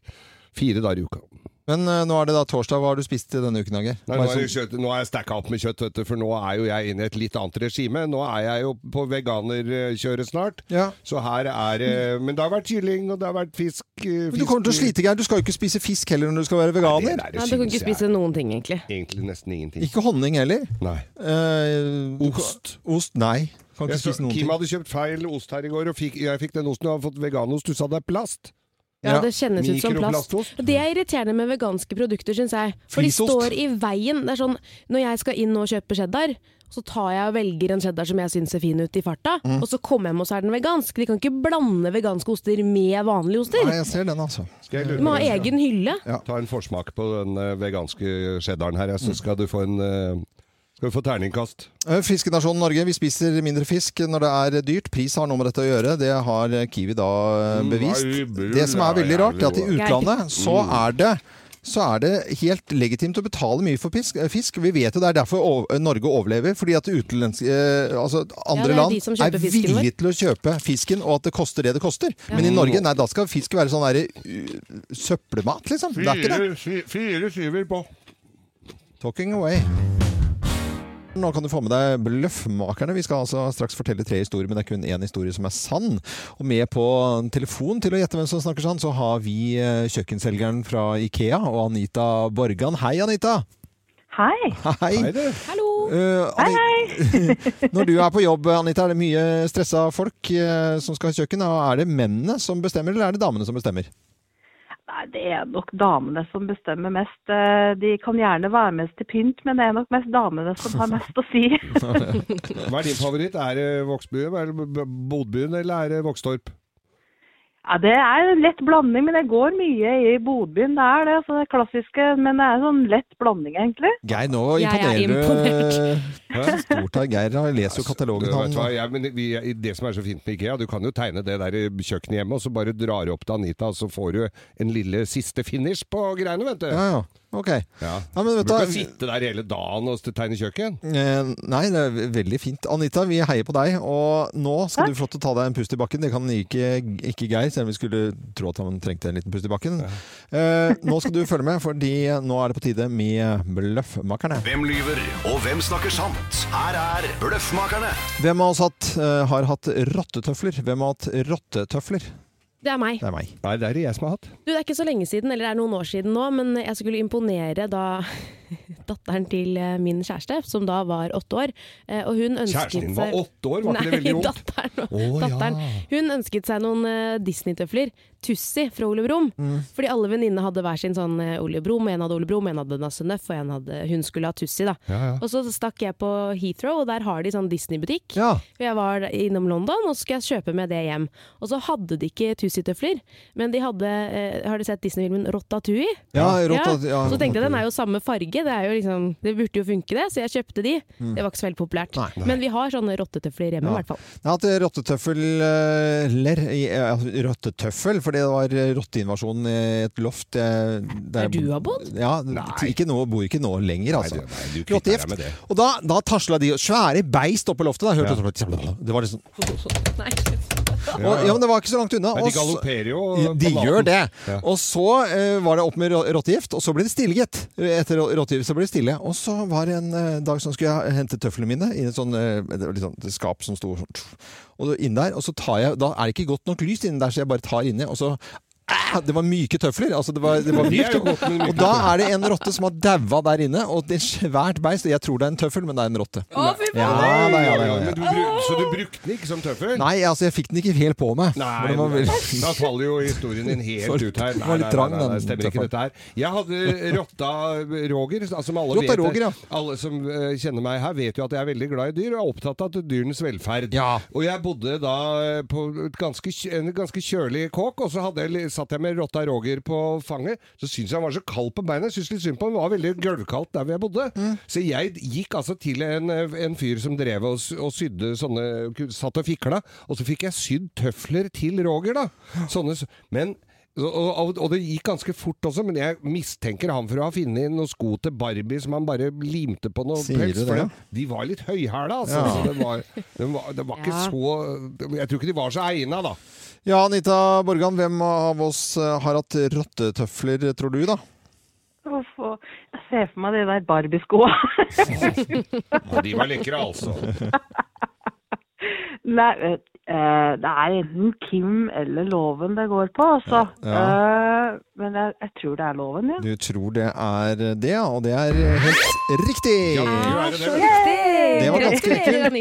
Fire dager i uka.
Men eh, nå er det da torsdag. Hva har du spist denne uken, Hager?
Nei, nå, er det kjøtt, nå er jeg stacka opp med kjøtt, vet du, for nå er jo jeg inne i et litt annet regime. Nå er jeg jo på veganerkjøret snart. Så her er det- Men det har vært kylling, og det har vært fisk. eh,
Men du kommer til å
fisk-
slite, Geir. Du skal jo ikke spise fisk heller når du skal være veganer.
Nei, det der Nei, du kan synes ikke jeg- spise
noen ting, egentlig.
Egentlig nesten ingenting.
Ikke honning heller.
Nei.
ost. Ost, nei. Kan
Jeg
ikke
så,
spise noen
Kim
ting.
hadde kjøpt feil ost her i går, og fikk, jeg fikk den osten og har fått veganost. Du sa det er plast.
Ja, det kjennes ut som plast. Og Det er irriterende med veganske produkter, syns jeg. For de
Flisost.
står i veien. Det er sånn, når jeg skal inn og kjøpe cheddar, så tar jeg og velger en cheddar som jeg syns ser fin ut i farta,
Mm.
og så kommer jeg hjem og så er den vegansk. De kan ikke blande veganske oster med vanlige oster.
Nei, jeg ser den, altså.
Skal jeg
Du
lure
må ha
deg?
egen hylle.
Ta en forsmak på den eh, veganske cheddaren her, jeg,
Mm.
så skal du få en eh, Skal du få terningkast.
Eh, Fiskenasjonen Norge, vi spiser mindre fisk når det er dyrt. Pris har noe med dette å gjøre, det har eh, Kiwi da eh, bevist.
Nei, bror,
Det som er veldig
ja,
rart, er at i
jævlig bra.
utlandet så er det så er det helt legitimt å betale mye for fisk. eh, fisk. Vi vet jo det er derfor o- Norge overlever, fordi at utenlandske, eh, altså
det
andre
er
land
de som
er
kjøper fisken vår.
villige til å kjøpe fisken, og at det koster det det koster.
Ja.
Men i Norge, nei, da skal fisk være sånn derre uh, søppelmat, liksom. Det er ikke det.
Fire syver på.
Talking away. Nå kan du få med deg Bløffmakerne. Vi skal altså straks fortelle tre historier, men det er kun én historie som er sann. Og med på en telefon til å gjette hvem som snakker sann, så har vi eh, kjøkkenselgeren fra Ikea og Anita Borgan. Hei, Anita!
Hei.
Hei.
Hallo.
Eh, Ani- Når du er på jobb, Anita, er det mye stressa folk eh, som skal ha kjøkken. Og Er det mennene som bestemmer, eller er det damene som bestemmer?
Nei, det er nok damene som bestemmer mest. Eh, De kan gjerne være med til pynt, men det er nok mest damene som har mest å si.
Hva er din favoritt? Er det Vågsbyen, er det B- Bodbyen eller er det Vågstorp?
Ja, det er en lett blanding, men det går mye i Bodbyen. Det er det, altså det klassiske, men det er en sånn lett blanding, egentlig.
Geir, nå
Jeg er
imponerer du eh,
imponert.
stort av Geir. Han leser jo
Altså, Du
katalogen.
vet hva,
han.
jeg, men vi, det som er så fint med Ikea, du kan jo tegne det der kjøkkenet hjemme, og så bare drar du opp til Anita, og så får du en lille siste finish på greiene, vet du.
Ja, ja. Ok.
Ja.
Ja, men vet
du
du-
kan sitte der hele dagen og tegne kjøkken.
Eh, Nei, det er ve- veldig fint. Anita, vi heier på deg. Og nå skal du få lov til å ta deg en pust i bakken. Det kan ikke, ikke Geir, selv om vi skulle tro at han trengte en liten pust i bakken. Eh, nå skal du følge med, fordi nå er det på tide med Bløffmakerne.
Hvem lyver, og hvem snakker sant? Her er Bløffmakerne.
Hvem av oss hatt, eh, har hatt rottetøfler? Hvem har hatt rottetøfler?
Det er meg.
Det er meg.
Nei, det er det jeg som har hatt.
Du, det er ikke så lenge siden, eller det er noen år siden nå, men jeg skulle imponere da datteren til eh, min kjæreste, som da var åtte år, eh, og hun ønsket
Kjæresten din var
seg-
åtte år? Var ikke det
Nei,
veldig ungt?
datteren.
Å, ja.
datteren. Hun ønsket seg noen eh, Disney-tøfler, Tussi fra Ole Brumm,
Mm.
fordi alle venninnene hadde hver sin sånn eh, Ole Brumm, en hadde Ole Brumm, en hadde Nasse Nøff, og en hadde, hun skulle ha Tussi da.
Ja,
Og så stakk jeg på Heathrow, og der har de sånn Disney-butikk. For Jeg var innom London, og så skulle jeg kjøpe med det hjem. Og så hadde de ikke Tussi-tøfler, men de hadde eh, Har du sett Disney-filmen Rotatouille?
Ja, Rotat- ja,
Så tenkte jeg den er jo samme farge, det, er jo liksom, det burde jo funke det, så jeg kjøpte de.
Mm.
Det var ikke så veldig populært.
Nei.
Men vi har sånne rottetøfler hjemme, i hvert fall.
Jeg har hatt rottetøfler i- eh, Rottetøffel, fordi det var rotteinvasjon i et loft. eh, Der
du har bodd?
Ja, til- ikke nå, bor ikke nå lenger, altså.
du kvitter deg med det.
Rottegift. Og da, da tasla de svære beist oppe i loftet. Da, hørte jeg- det var liksom og, ja, men Det var ikke så langt unna.
Nei, de
og så-
galopperer jo
De
på maten.
gjør det.
Ja.
Og så eh, var det opp med rå- rottegift, og så ble det stille, gitt. Etter rå- rottegift så ble det stille. Og så var det en eh, dag som skulle jeg hente tøflene mine i et sånn, eh, det var litt sånn et skap som sto sånn tsk, og inn der. Og så tar jeg Da er det ikke godt nok lys inni der, så jeg bare tar inni, og så Ah, det var myke tøfler. Altså det var, det var
Det er
mykt.
jo godt med myke
Og da er det en rotte som har daua der inne. Og det er svært beist. Jeg tror det er en tøffel, men det er en rotte. ja, da, ja, da, ja, ja.
Men du bru- Så du brukte den ikke som tøffel?
Nei, altså jeg fikk den ikke helt på meg.
Nei,
Men det var vel-
da faller jo historien din helt ut her.
Det var litt trang, den
det stemmer ikke
tøffelen.
dette her. Jeg hadde rotta Roger, altså, som alle
Rotta
vet
Roger, ja.
Alle som eh, kjenner meg her, vet jo at jeg er veldig glad i dyr og er opptatt av dyrenes velferd. Og jeg bodde da eh, på et ganske, kj- en ganske kjølig kåk, og så hadde jeg, li- satt jeg med rotta Roger på fanget. Så syntes jeg han var så kald på beina. Syntes litt synd på han. Det var veldig gulvkaldt der hvor jeg bodde.
Mm.
Så jeg gikk altså til en, eh, en fyr som drev og, s- og sydde sånne Satt og fikla. Og så fikk jeg sydd tøfler til Roger, da. Sånne, s- men og, og, og det gikk ganske fort også, men jeg mistenker han for å ha funnet noen sko til Barbie som han bare limte på noe
Sier du
pels.
det,
For
ja?
det- de var litt høyhæla, altså.
Ja.
Så det var, det var, det var ikke
Ja.
så Jeg tror ikke de var så egna, da.
Ja, Anita Borgan, hvem av oss eh, har hatt rottetøfler, tror du, da?
Uff, og jeg ser for meg de der Barbie-skoa.
Ja, de var lekre, altså.
Nei, vet- eh, det er enten Kim eller Loven det går på, altså.
Ja, ja.
Eh, Men jeg, jeg tror det er Loven, ja.
Du tror det er det, ja. Og det er helt riktig! Det var ganske ekkelt.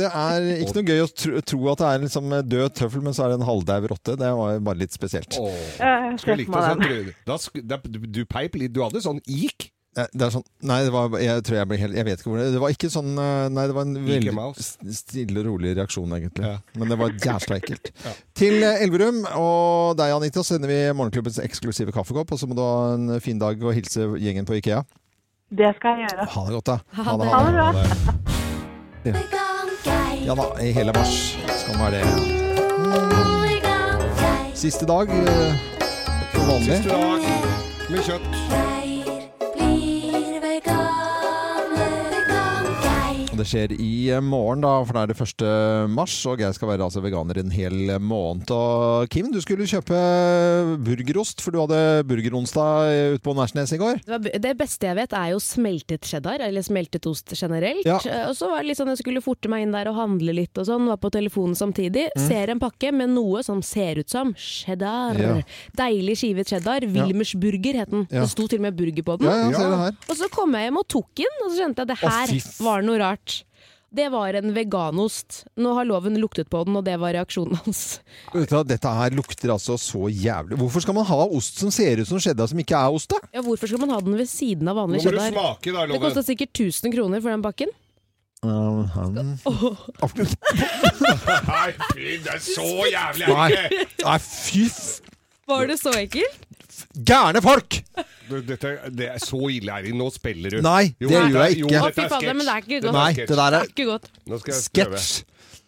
Det er ikke noe gøy å tro, tro at det er liksom død tøffel, men så er det en halvdau rotte. Det var bare litt spesielt.
Jeg
Skulle
ser
likt
for
å
meg
sånn,
den.
Trude. Da, sk- da, du, du peip litt. Du hadde sånn ik.
Eh, Det er sånn, nei, det var, jeg tror jeg ble helt Jeg vet ikke hvor det Det var ikke sånn eh, Nei, det var en
Mickey
veldig s- stille og rolig reaksjon, egentlig. Men det var jævla ekkelt. Til eh, Elverum og deg, Anita, så sender vi Morgenklubbens eksklusive kaffekopp. Og så må du ha en fin dag og hilse gjengen på Ikea.
Det skal jeg gjøre.
Ha det godt, da.
Ha det. Ha det bra.
Ja da, i hele mars skal man være det. Siste dag eh, som vanlig.
Siste dag med kjøtt.
Og Det skjer i eh, morgen, da, for da er det 1. mars, og jeg skal være altså, veganer en hel måned. Og Kim, du skulle kjøpe eh, burgerost, for du hadde burgeronsdag eh, ute på Nærsnes i går.
Det, var, det beste jeg vet er jo smeltet cheddar, eller smeltet ost generelt.
Ja.
Eh, Og så var det litt sånn jeg skulle forte meg inn der og handle litt og sånn, var på telefonen samtidig.
Mm.
Ser en pakke med noe som ser ut som cheddar.
Ja.
Deilig skive cheddar. Wilmersburger het den.
Ja.
Det sto til og med burger på den.
Ja, ja, ser du her.
Og så kom jeg hjem og tok den, og så skjønte jeg at det
Å,
her
fy f-
var noe rart. Det var en veganost. Nå har loven luktet på den, og det var reaksjonen hans.
Vet du hva, Dette her lukter altså så jævlig Hvorfor skal man ha ost som ser ut som cheddar, som ikke er ost, da?
Ja, Hvorfor skal man ha den ved siden av vanlig
Nå må du
cheddar?
smake da, Loven.
det kosta sikkert 1000 kroner for den pakken.
Nei, fy, det er så jævlig
Nei,
ekkelt!
nei fy f-
Var det så ekkelt?
gærne folk!
Du, Dette, det er så ille, Eirin. Nå spiller du.
Nei, det
dette-
gjør jeg
jo,
ikke.
dette
Å, fy
er
fader,
sketsj.
men det er ikke
Dette
godt. Nei,
sketsj.
det der er-
Ikke godt.
Nå skal jeg prøve.
Sketsj!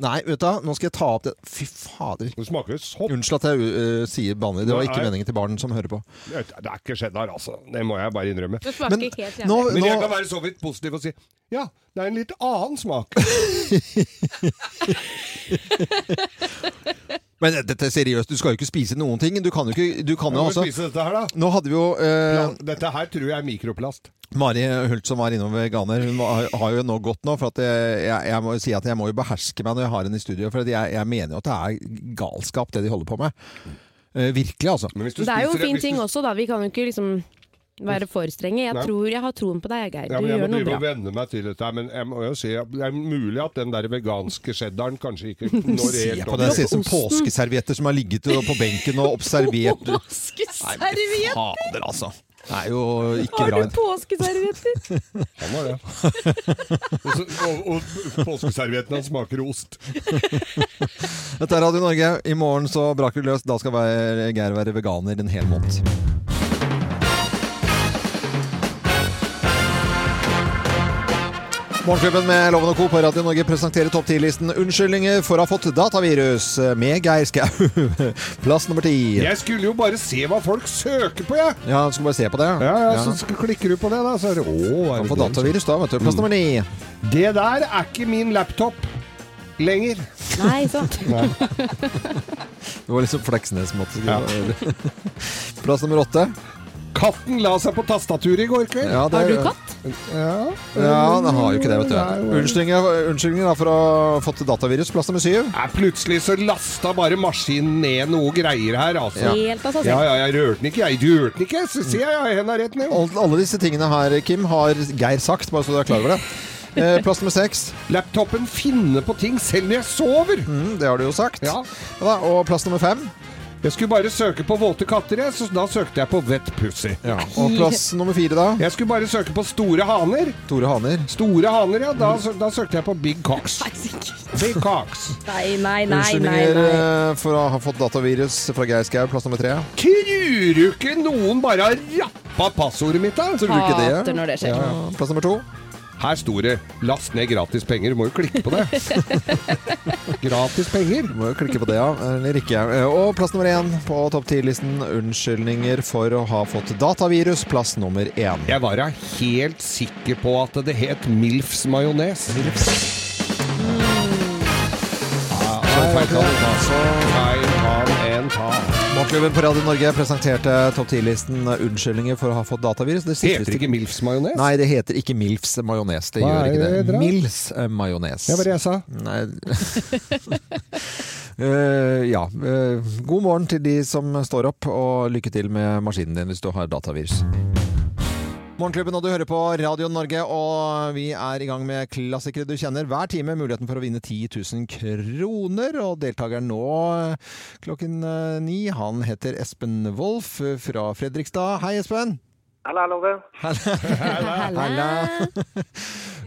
Nei, vet du hva, nå skal jeg ta opp det Fy fader.
Det sånn. smaker sopp.
Unnskyld at jeg eh, sier banner. Det var ikke
Nei.
meningen til barn som hører på.
Det er- det er ikke cheddar, altså. Det må jeg bare innrømme.
Det smaker Men helt jævlig. nå-
Men jeg
nå-
kan være så vidt positiv og si ja, det er en litt annen smak.
Men dette er seriøst, du skal jo ikke spise noen ting. Du kan jo ikke du kan jo,
Ja, men
altså,
spise dette her, da.
Nå hadde vi jo eh,
Plan- Dette her tror jeg er mikroplast.
Mari Hult som var innom veganer, hun har har jo nå gått nå. For at jeg, jeg, jeg må jo si at jeg må jo beherske meg når jeg har henne i studio. For at jeg, jeg mener jo at det er galskap, det de holder på med. Eh, virkelig, altså.
Det er jo en fin ting også, da. Vi kan jo ikke liksom være for strenge. Jeg
Nei.
tror jeg har troen på deg, Geir.
Ja,
Du
men jeg må
gjør noe
drive og
bra.
venne meg til dette her, men jeg må jo si at det er mulig at den der veganske cheddaren kanskje ikke når
Se
helt
på det, det ser ut som
opp.
påskeservietter som har ligget på benken og observert.
Påskeservietter!
Fader, altså. Det er jo ikke
Har
bra.
du påskeservietter?
Han har det. Og, så, og, og påskeservietten hans smaker ost.
Dette er Radio Norge. I morgen så braker det løs. Da skal være- Geir være veganer en hel måned. Morgenklubben med Loven og Co. på Radio Norge presenterer topp 10-listen 'Unnskyldninger for å ha fått datavirus' med Geir Skau. Plass nummer ti.
Jeg skulle jo bare se hva folk søker på, jeg!
Ja, du skal bare se på det.
Ja, ja, Så sk- klikker du på det, da, så er det Å, er
Kan
det
få
det?
datavirus da, vet du. Plass
Mm.
nummer ni.
Det der er ikke min laptop lenger.
Nei, sant.
Det var liksom Fleksnes-måte. Plass nummer åtte.
Katten la seg på tastaturet i går kveld.
Ja, det- Har du katt?
Ja.
Ja, den har jo ikke det, vet
Nei,
du.
nei.
Unnskyldninger, unnskyldninger da for å ha fått datavirus. Plass nummer syv.
Nei, plutselig så lasta bare maskinen ned noe greier her, altså.
Ja. Mm. Helt av seg selv.
Ja, ja, jeg rørte den ikke, jeg. Du rørte den ikke, så sier jeg, jeg henda rett ned.
Alt- Alle disse tingene her, Kim, har Geir sagt, bare så du er klar over det. Eh, Plass nummer seks.
Laptopen finner på ting selv når jeg sover.
Mm, det har du jo sagt.
Ja.
da, og plass nummer fem?
Jeg skulle bare søke på våte katter, jeg, så da søkte jeg på wet pussy.
Og plass nummer fire, da?
Jeg skulle bare søke på store haner.
Store haner.
Store haner, ja. Da, sø- da søkte jeg på big cocks. Big cocks.
Nei, nei, nei, nei.
Unnskyldninger
nei.
eh, for å ha fått datavirus fra Geir Skau. Plass nummer tre.
Tror du ikke noen bare har rappa passordet mitt, da?
Tror du ikke det? Hater når det skjer. Plass nummer to.
Her sto det 'last ned gratis penger'. Du må jo klikke på det. gratis penger.
Må jo klikke på det, ja. Eller ikke. Eh, Og plass nummer én på topp ti-listen. Unnskyldninger for å ha fått datavirus. Plass nummer én.
Jeg var da helt sikker på at det het Milfs majones.
Milfs.
Ja,
Så Morgenklubben på Radio Norge presenterte topp 10-listen unnskyldninger for å ha fått datavirus. Det
Heter
sikreste-
ikke MILFs majones?
Nei, det heter ikke Milfs majones. Det
Hva
gjør
er
ikke
det
det.
dere har?
Milfs eh, majones.
Det var det jeg sa.
Nei. Eh, ja. eh, god morgen til de som står opp, og lykke til med maskinen din hvis du har datavirus. Morgenklubben, og du hører på Radio Norge, og vi er i gang med klassikere du kjenner. Hver time muligheten for å vinne 10 000 kroner, og deltakeren nå eh, klokken eh, ni, han heter Espen Wolff eh, fra Fredrikstad. Hei, Espen!
Hallo, hallo.
Halla. Halla.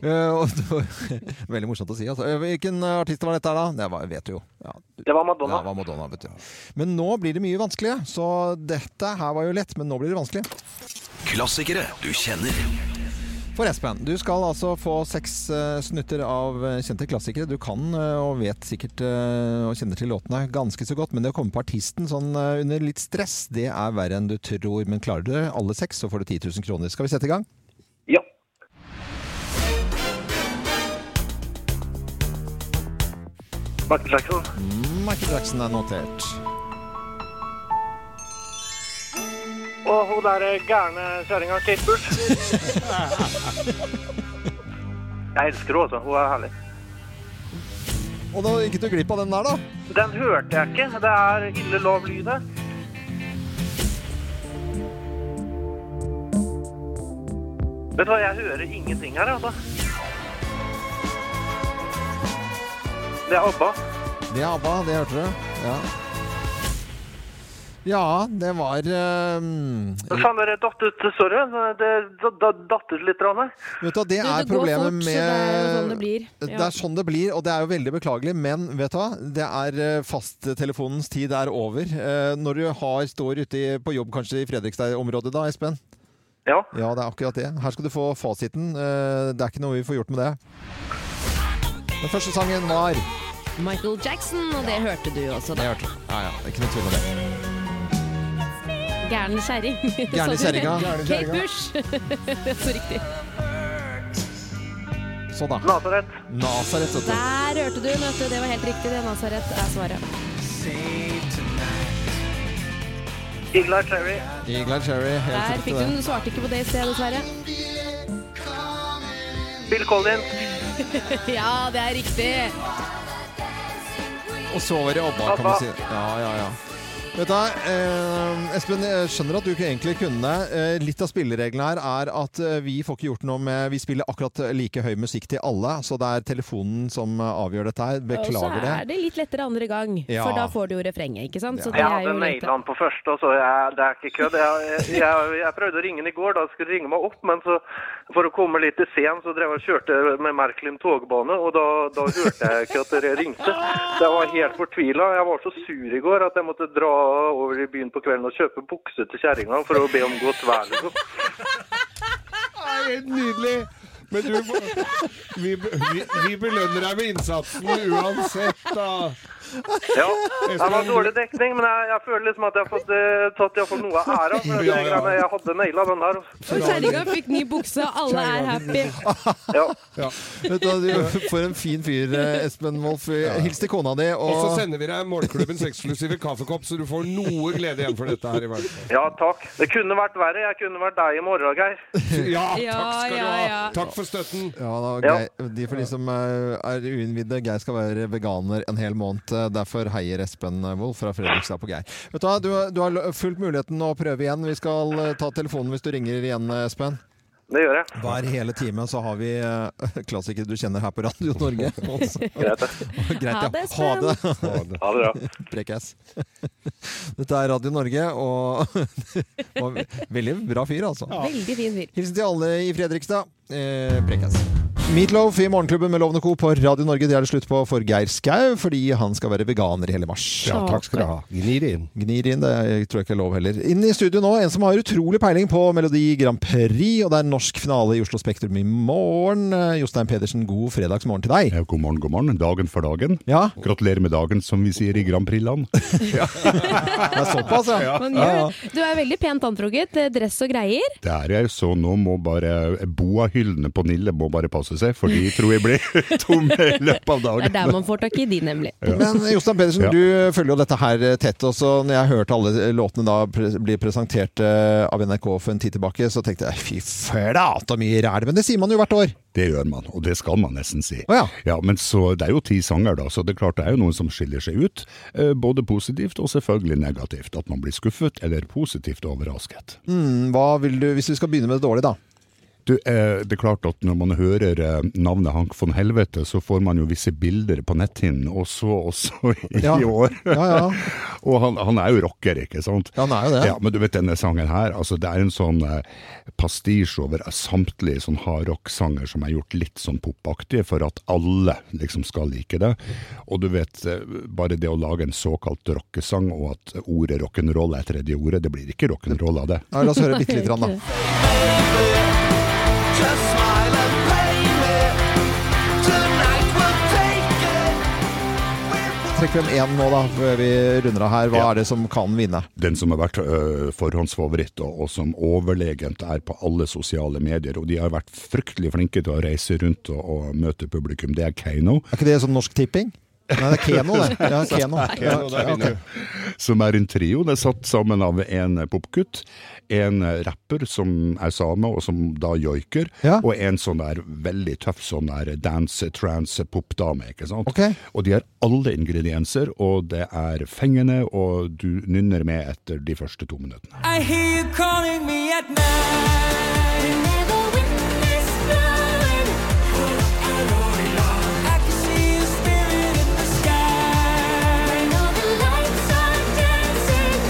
Eh, og du- Veldig morsomt å si, altså. Eh, Hvilken eh, artist var dette her, da? Det var, vet du jo. Ja.
Det var Madonna.
Ja, det var Madonna, vet du. Men nå blir det mye vanskelig, så dette her var jo lett, men nå blir det vanskelig.
Klassikere du kjenner.
For Espen, du skal altså få seks eh, snutter av eh, kjente klassikere. Du kan eh, og vet sikkert eh, og kjenner til låtene ganske så godt, men det å komme på artisten sånn eh, under litt stress, det er verre enn du tror. Men klarer du det, alle seks, så får du 10 000 kroner. Skal vi sette i gang?
Ja. Michael Jackson.
Michael Jackson er notert.
Og hun der gærne kjerringa Kate Bush. Jeg elsker henne, altså. Hun er herlig.
Og da gikk du glipp av den der, da?
Den hørte jeg ikke. Det er ille lov lyde. Vet du hva, jeg hører ingenting her, altså. Det er ABBA.
Det er ABBA, det hørte du. Ja, ja det var ehm,
Faen, dere datt ut. Sorry. Det da- da- datt ut litt. Ranne.
Vet du, hva, det
Du,
er
det går fort,
problemet
så
med
det er jo sånn det blir. Ja.
Det er sånn det blir, og det er jo veldig beklagelig. Men vet du hva, det er eh, fasttelefonens tid er over. Eh, Når du har, står ute i- på jobb kanskje i Fredrikstad-området da, Espen?
Ja.
ja, det er akkurat det. Her skal du få fasiten. Eh, Det er ikke noe vi får gjort med det. Den første sangen var
Michael Jackson, og det hørte du jo også,
Det
da.
hørte du. Ja, ja, det er ikke noe tvil om det.
Gæren kjerring.
Gærne
Sorry.
kjerringa.
Kate Bush. det er så riktig.
Så Sånn da.
Nasaret.
Nasaret, vet du.
Der hørte du, vet du. Det var helt riktig. Det Nazaret er svaret.
Igla Cherry.
Eagle Eye Cherry. Helt
Der
riktig
fikk du
det.
den. Du svarte ikke på det i sted, dessverre.
Bill Collins.
ja, det er riktig.
Og så var det ABBA, kan
ABBA.
man si. Ja, ja, ja. Vet du, hva, eh, Espen, jeg skjønner at du ikke egentlig kunne det. Eh, litt av spillereglene her er at eh, vi får ikke gjort noe med Vi spiller akkurat like høy musikk til alle, så det er telefonen som eh, avgjør dette her.
og
Beklager
så
det.
er det litt lettere andre gang,
Ja.
for da får du jo refrenget, ikke sant? Så det
Jeg
er
hadde
jo
naila han på første, og så jeg, det er ikke kødd. Jeg, jeg, jeg, jeg prøvde å ringe han i går, da skulle de ringe meg opp, men så, for å komme litt til scenen, så drev jeg og kjørte med Merklim togbane, og da, da hørte jeg ikke at dere ringte. Så jeg var helt fortvila. Jeg var så sur i går at jeg måtte dra over i byen på kvelden og kjøpe bukse til kjerringa for å be om godt vær. Liksom.
Helt nydelig! Men du, vi, vi, vi belønner deg med innsatsen uansett, da.
Ja, det var dårlig dekning, men jeg, jeg føler liksom at jeg har fått, eh, tatt, jeg har fått noe av æra. For at
Ja,
jeg,
ja.
greiene- jeg hadde naila den der. altså.
Og kjerringa fikk ny bukse, og alle er happy.
Ja. Vet du, hva, du, for en fin fyr, eh, Espen Wolff. Hils til kona di.
Og så
Og
sender vi deg Morgenklubbens eksklusive kaffekopp, så du får noe glede igjen for dette her i verden.
Ja, takk. Det kunne vært verre. Jeg kunne vært deg i morgen, Geir.
Ja,
takk skal du ha.
Takk for støtten.
ja, da,
Ja.
Geir, de for de som eh, er uinnvidde, Geir skal være veganer en hel måned. eh, Derfor heier Espen eh, Wolff fra Fredrikstad på Geir. Vet Du hva, du, har- du har l- fullt muligheten å prøve igjen. Vi skal eh, ta telefonen hvis du ringer igjen, eh, Espen.
Det gjør jeg.
Hver hele time så har vi eh, klassikere du kjenner her på Radio Norge.
Greit, det.
Greit, ja.
Ha det,
Ha
Sven.
det.
Ha det. Ha det bra.
Prekkass. Dette er Radio Norge, og og veldig bra fyr, altså.
Veldig fin fyr.
Hilsen til alle i Fredrikstad. Eh, Prekkass. Meatloaf i Morgenklubben med Lovende Co. på Radio Norge. Det er det slutt på for Geir Skau, fordi han skal være veganer i hele mars.
Ja, takk skal du ha. Gnir inn.
Gnir inn, det er- tror jeg ikke er lov heller. Inn i studio nå, en som har utrolig peiling på Melodi Grand Prix, og det er norsk finale i Oslo Spektrum i morgen. Eh, Jostein Pedersen, god fredagsmorgen til deg.
God morgen, god morgen. Dagen for dagen.
Ja.
Gratulerer med dagen, som vi sier i Grand Prix-land.
Det er såpass, ja.
Men gjør det. Du er veldig pent antrukket. eh, Dress og greier.
Det er jeg, så nå må bare boa hyllene på Nille må bare pause seg, for de tror jeg blir tomme i løpet av
Det er
dagen.
der man får tak i de, nemlig.
Men eh, Jostein Pedersen,
Ja.
du følger jo dette her eh, tett. Og så når jeg hørte alle eh, låtene da pre bli presentert eh, av NRK for en tid tilbake, så tenkte jeg fy flata mye ræl. Men det sier man jo hvert år.
Det gjør man, og det skal man nesten si.
ja.
men så, Det er jo ti sanger, da, så det er klart det er jo noen som skiller seg ut. eh, Både positivt og selvfølgelig negativt. At man blir skuffet eller positivt overrasket.
Mm, hva vil du, hvis vi skal begynne med det dårlige, da?
Du, eh, det er klart at Når man hører eh, navnet Hank von Helvete, så får man jo visse bilder på netthinnen, og så også i Ja. år.
Ja, ja.
og han, han er jo rocker, ikke sant?
Ja, han er jo det.
Ja, Men du vet denne sangen her, altså det er en sånn eh, pastisj over eh, samtlige sånn hardrock-sanger som er gjort litt sånn popaktige, for at alle liksom skal like det. Og du vet, eh, bare det å lage en såkalt rockesang, og at ordet rock'n'roll er tredje ordet, det blir ikke rock'n'roll av det.
Ja, la oss høre bitte lite grann, da.
Just smile and pay me. Tonight we'll take it.
Trekk frem én nå, da, før vi runder av her. Hva er det som kan vinne?
Den som har vært ø, forhåndsfavoritt, og, og som overlegent er på alle sosiale medier. Og de har vært fryktelig flinke til å reise rundt og, og møte publikum. Det er Keiino.
Er ikke det som Norsk Tipping? Nei, det er Keno, det. Ja, Keno. Ja, ja, ok.
Som er en trio. Det er satt sammen av en popgutt, en rapper som er same, og som da joiker, og en sånn der veldig tøff sånn der dance-trans-popdame. ikke sant? Og de har alle ingredienser, og det er fengende, og du nynner med etter de første to minuttene.
I hear you calling me at night. You never ring this time. I can see your spirit in the sky. When all the lights are dancing.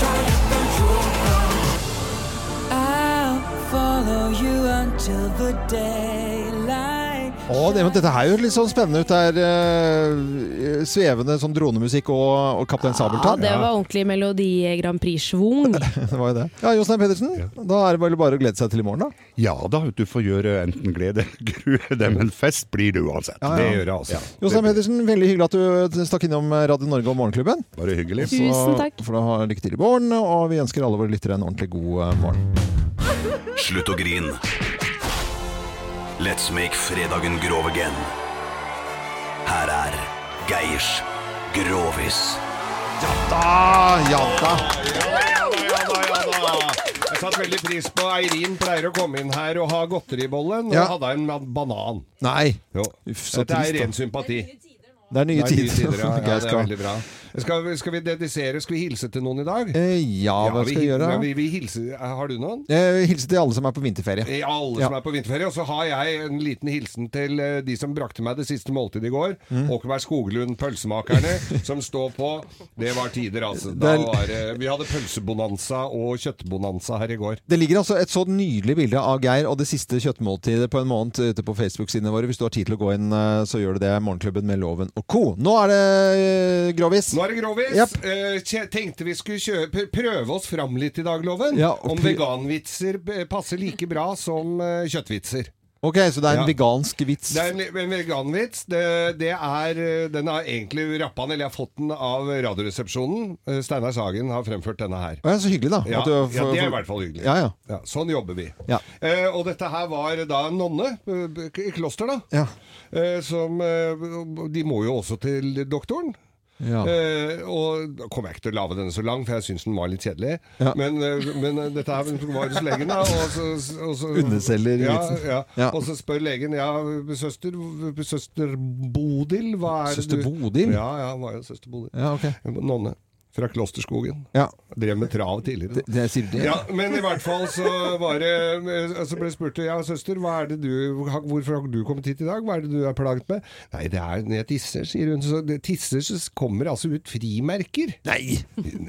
Try to control now. I'll follow you until the daylight.
Å, det, men dette her høres litt sånn spennende ut. Det er eh, svevende sånn dronemusikk og, og Kaptein
Ja,
Sabeltann.
det var ordentlig Melodi Grand Prix-schwung.
Det var jo det. Ja, Jostein Pedersen, da er det vel bare å glede seg til i morgen, da.
Ja da, du får gjøre enten glede eller grue deg, men fest blir det uansett.
Ja, ja.
Det gjør det altså.
Jostein Pedersen, veldig hyggelig at du eh, stakk innom Radio Norge og Morgenklubben.
Bare hyggelig.
Så
Tusen takk.
får du ha lykke til i morgen, og vi ønsker alle våre lyttere en ordentlig god eh, morgen.
Slutt å grine. Let's make fredagen grov again. Her er Geirs Grovis.
Ja da, ja da.
Jeg satte veldig pris på Eirin pleier å komme inn her og ha godteribollen.
Ja.
Og hadde en ba- banan.
Nei.
Uff,
så
Dette
trist,
er
da.
ren sympati.
Det er nye tider.
ja,
Ok,
ja, det er
skal-
veldig bra. Skal vi, skal vi dedisere? Skal vi hilse til noen i dag?
Eh, ja, hva skal jeg gjøre?
ja, Vi, vi hilser, har du noen?
Eh, Hilse til alle som er på vinterferie.
I alle som er på vinterferie. Og så har jeg en liten hilsen til eh, de som brakte meg det siste måltidet i går.
Mm.
Åkeberg Skoglund, pølsemakerne, som står på. Det var tider, altså.
Det
Da
er-
var, det- vi hadde pølsebonanza og kjøttbonanza her i går.
Det ligger altså et så nydelig bilde av Geir og det siste kjøttmåltidet på en måned ute på Facebook-sidene våre. Hvis du har tid til å gå inn, eh, så gjør du det. Morgenklubben med Loven og co. Nå er det eh, grovis.
Nå er det grovis.
Japp.
Eh, kje- tenkte vi skulle kjøre, pr- prøve oss fram litt i dag, Loven.
Ja, og
Om
pr-
veganvitser b- passer like bra som eh, kjøttvitser.
Ok, så det er en
Ja.
vegansk vits.
Det er en, en veganvits. Det, det er, eh, den har egentlig rappa den, eller jeg har fått den av Radioresepsjonen. Eh, Steinar Sagen har fremført denne her.
Å, ja, så hyggelig, da.
Ja,
At du får-
ja, det er i
får-
hvert fall hyggelig.
Ja, ja.
Ja, sånn jobber vi.
Ja.
Eh, og dette her var da en nonne eh, b- i kloster, da.
Ja.
Eh, som eh, De må jo også til doktoren.
Ja.
Eh, og da kommer jeg ikke til å lage den så lang, for jeg syns den var litt kjedelig.
Ja.
Men, eh, men eh, dette her var hos legen, da. Og så, og så,
Underselger
ja,
vitsen.
ja.
Ja.
Og så spør legen ja, søster, søster Bodil, hva er det
Søster
du
Bodil?
Ja, ja, hun var jo søster Bodil.
Ja, ok.
Nonne fra Klosterskogen.
Ja.
Drev med trav tidligere.
Det, det sier du det?
Ja, men i hvert fall så var det eh, Så ble jeg spurt Ja, søster, hva er det du Hvorfor har du kommet hit i dag? Hva er det du er plaget med? Nei, det er når jeg tisser, sier hun Så det tisser, så kommer det altså ut frimerker
Nei!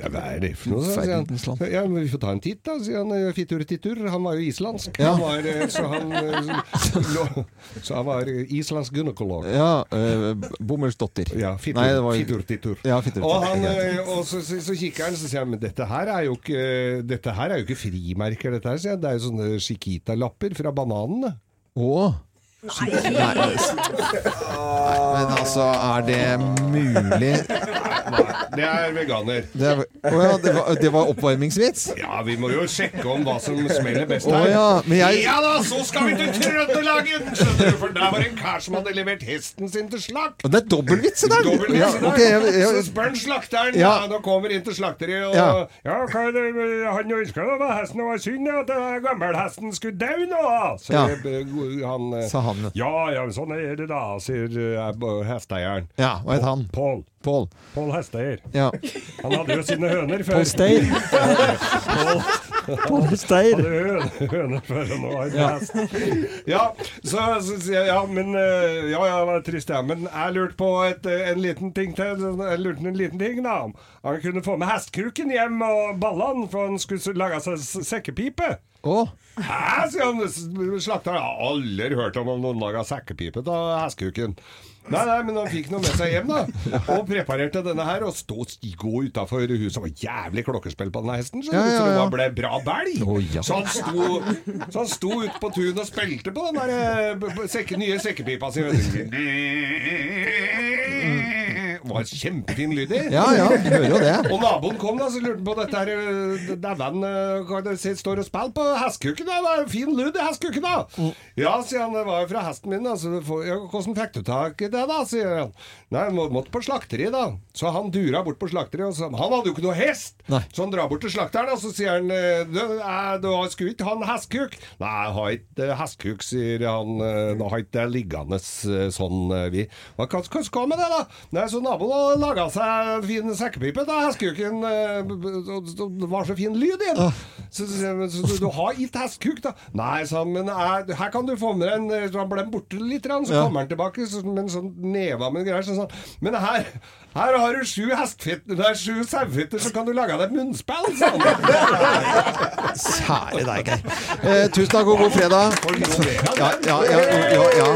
Hva er det for noe? sier
Verdens land.
han Ja, men vi får ta en titt da, sier han Fittur, tittur Han var jo islandsk
Ja.
han var, eh, Så han eh, lå- Så han var eh, islandsk gynekolog
Ja, eh, Bomullsdotter.
Ja, fittur,
Nei, det var-
fittur, tittur.
Ja, fittur,
Og, han,
tittur.
eh, og så, så, så kikker han så sier han, men dette her er jo ikke, dette her er jo ikke frimerker, dette her, sier han. Det er jo sånne Chiquita-lapper fra bananene.
Å. Nei, men altså, er det mulig?
Det er veganer.
Det, er, Å ja, det, var, det var oppvarmingsvits?
Ja, vi må jo sjekke om hva som smeller best
Å
her.
ja, men jeg-
ja da, så skal vi til Trøndelagen! Skjønner du, for der var det en kar som hadde levert hesten sin til slakt.
Og det er dobbeltvits i dag!
Dobbelt
Ja,
vits i dag.
ok, jeg- jeg-
Så spør han slakteren, ja.
Ja.
da kommer inn til slakteriet og
Ja.
Ja, hva er det, eh, han ønska da var hesten, det var synd at den gammelhesten skulle dø nå! da." Så
Ja.
eh, han, eh,
Sa han.
Ja, ja, men sånn er det da, sier eh, hesteeieren.
Ja, hva het han?
Pål.
Pål.
Pål Hesteeier.
Ja.
Han hadde jo sine høner før.
Pål Steir.
Pål
Pål Steir.
Han hadde hø- høner før han var
Ja.
hest. Ja, så, så sier jeg, ja, men eh, Ja, ja, det var trist, ja. Men jeg lurte på et, eh, en liten ting til. Jeg lurte på en liten ting, da. Om Han kunne få med hestkrukken hjem og ballene, for han skulle s- lage seg s- sekkepipe.
Åh.
Hæ, sier han. s- Slakteren har aldri hørt om om noen laga sekkepipe av hestkruken. Nei, nei, men han fikk noe med seg hjem, da. Og preparerte denne her. Og stå og gå utafor huset. Det var jævlig klokkespill på denne hesten, skjønner du.
Ja, ja,
Så det
ja.
var- ble bra belg.
Å, ja.
Så han sto, så han sto ute på tunet og spilte på den der eh, b- b- sekke, nye sekkepipa si. vet du. Det var kjempefin lyd i.
Ja, ja, du hører jo det.
Og naboen kom da, så lurte han på dette her eh, Dæven, eh, hva er det som står og spiller på hestekuken? da? Det er jo fin lyd i hestekuken, da! Ja, sier han, det var jo fra hesten min, da. Så du får- ja, hvordan fikk du tak i det, da? sier han. Nei, må, måtte på slakteri, da. Så han dura bort på slakteriet, og så Han hadde jo ikke noe hest! Så han drar bort til slakteren, og så sier han eh, Du, eh, du har skulle ikke ha en hestkuk? Nei, jeg har ikke eh, hestkuk, sier han. eh, Nå har ikke det liggende eh, sånn, eh, vi. Hva, hva, hva skal med det, da? Nei, så naboen har laga seg en fin sekkepipe da, hestekuken. eh, b- b- og- og Det var så fin lyd i den. Så, så, sier han, så du, du har ikke hestkuk, da? Nei, sa han, men eh, her kan du få med deg en eh, Så han ble borte litt, grann, så
Ja.
kommer han tilbake så, med en sånn neve med greier. Sånn, sånn. Men her, her har du sju hestfitter, det er sju sauefytter, så kan du lage deg et munnspill, sa han.
Kjære deg, Geir. Eh, tusen takk og god fredag.
altså.
Ja, ja, ja, ja, ja.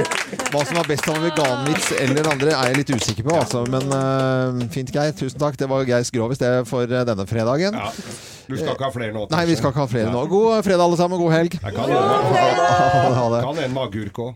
Hva som var best av veganvits eller andre, er jeg litt usikker på. Altså. Men eh, fint, Geir. Tusen takk. Det var Geirs Grovis det for eh, denne fredagen.
Ja. Du skal ikke ha flere nå?
eh, Nei, vi skal ikke ha flere nå. God fredag, alle sammen. God helg.
Jeg kan en med-
Ha det.
Kan en med agurk òg.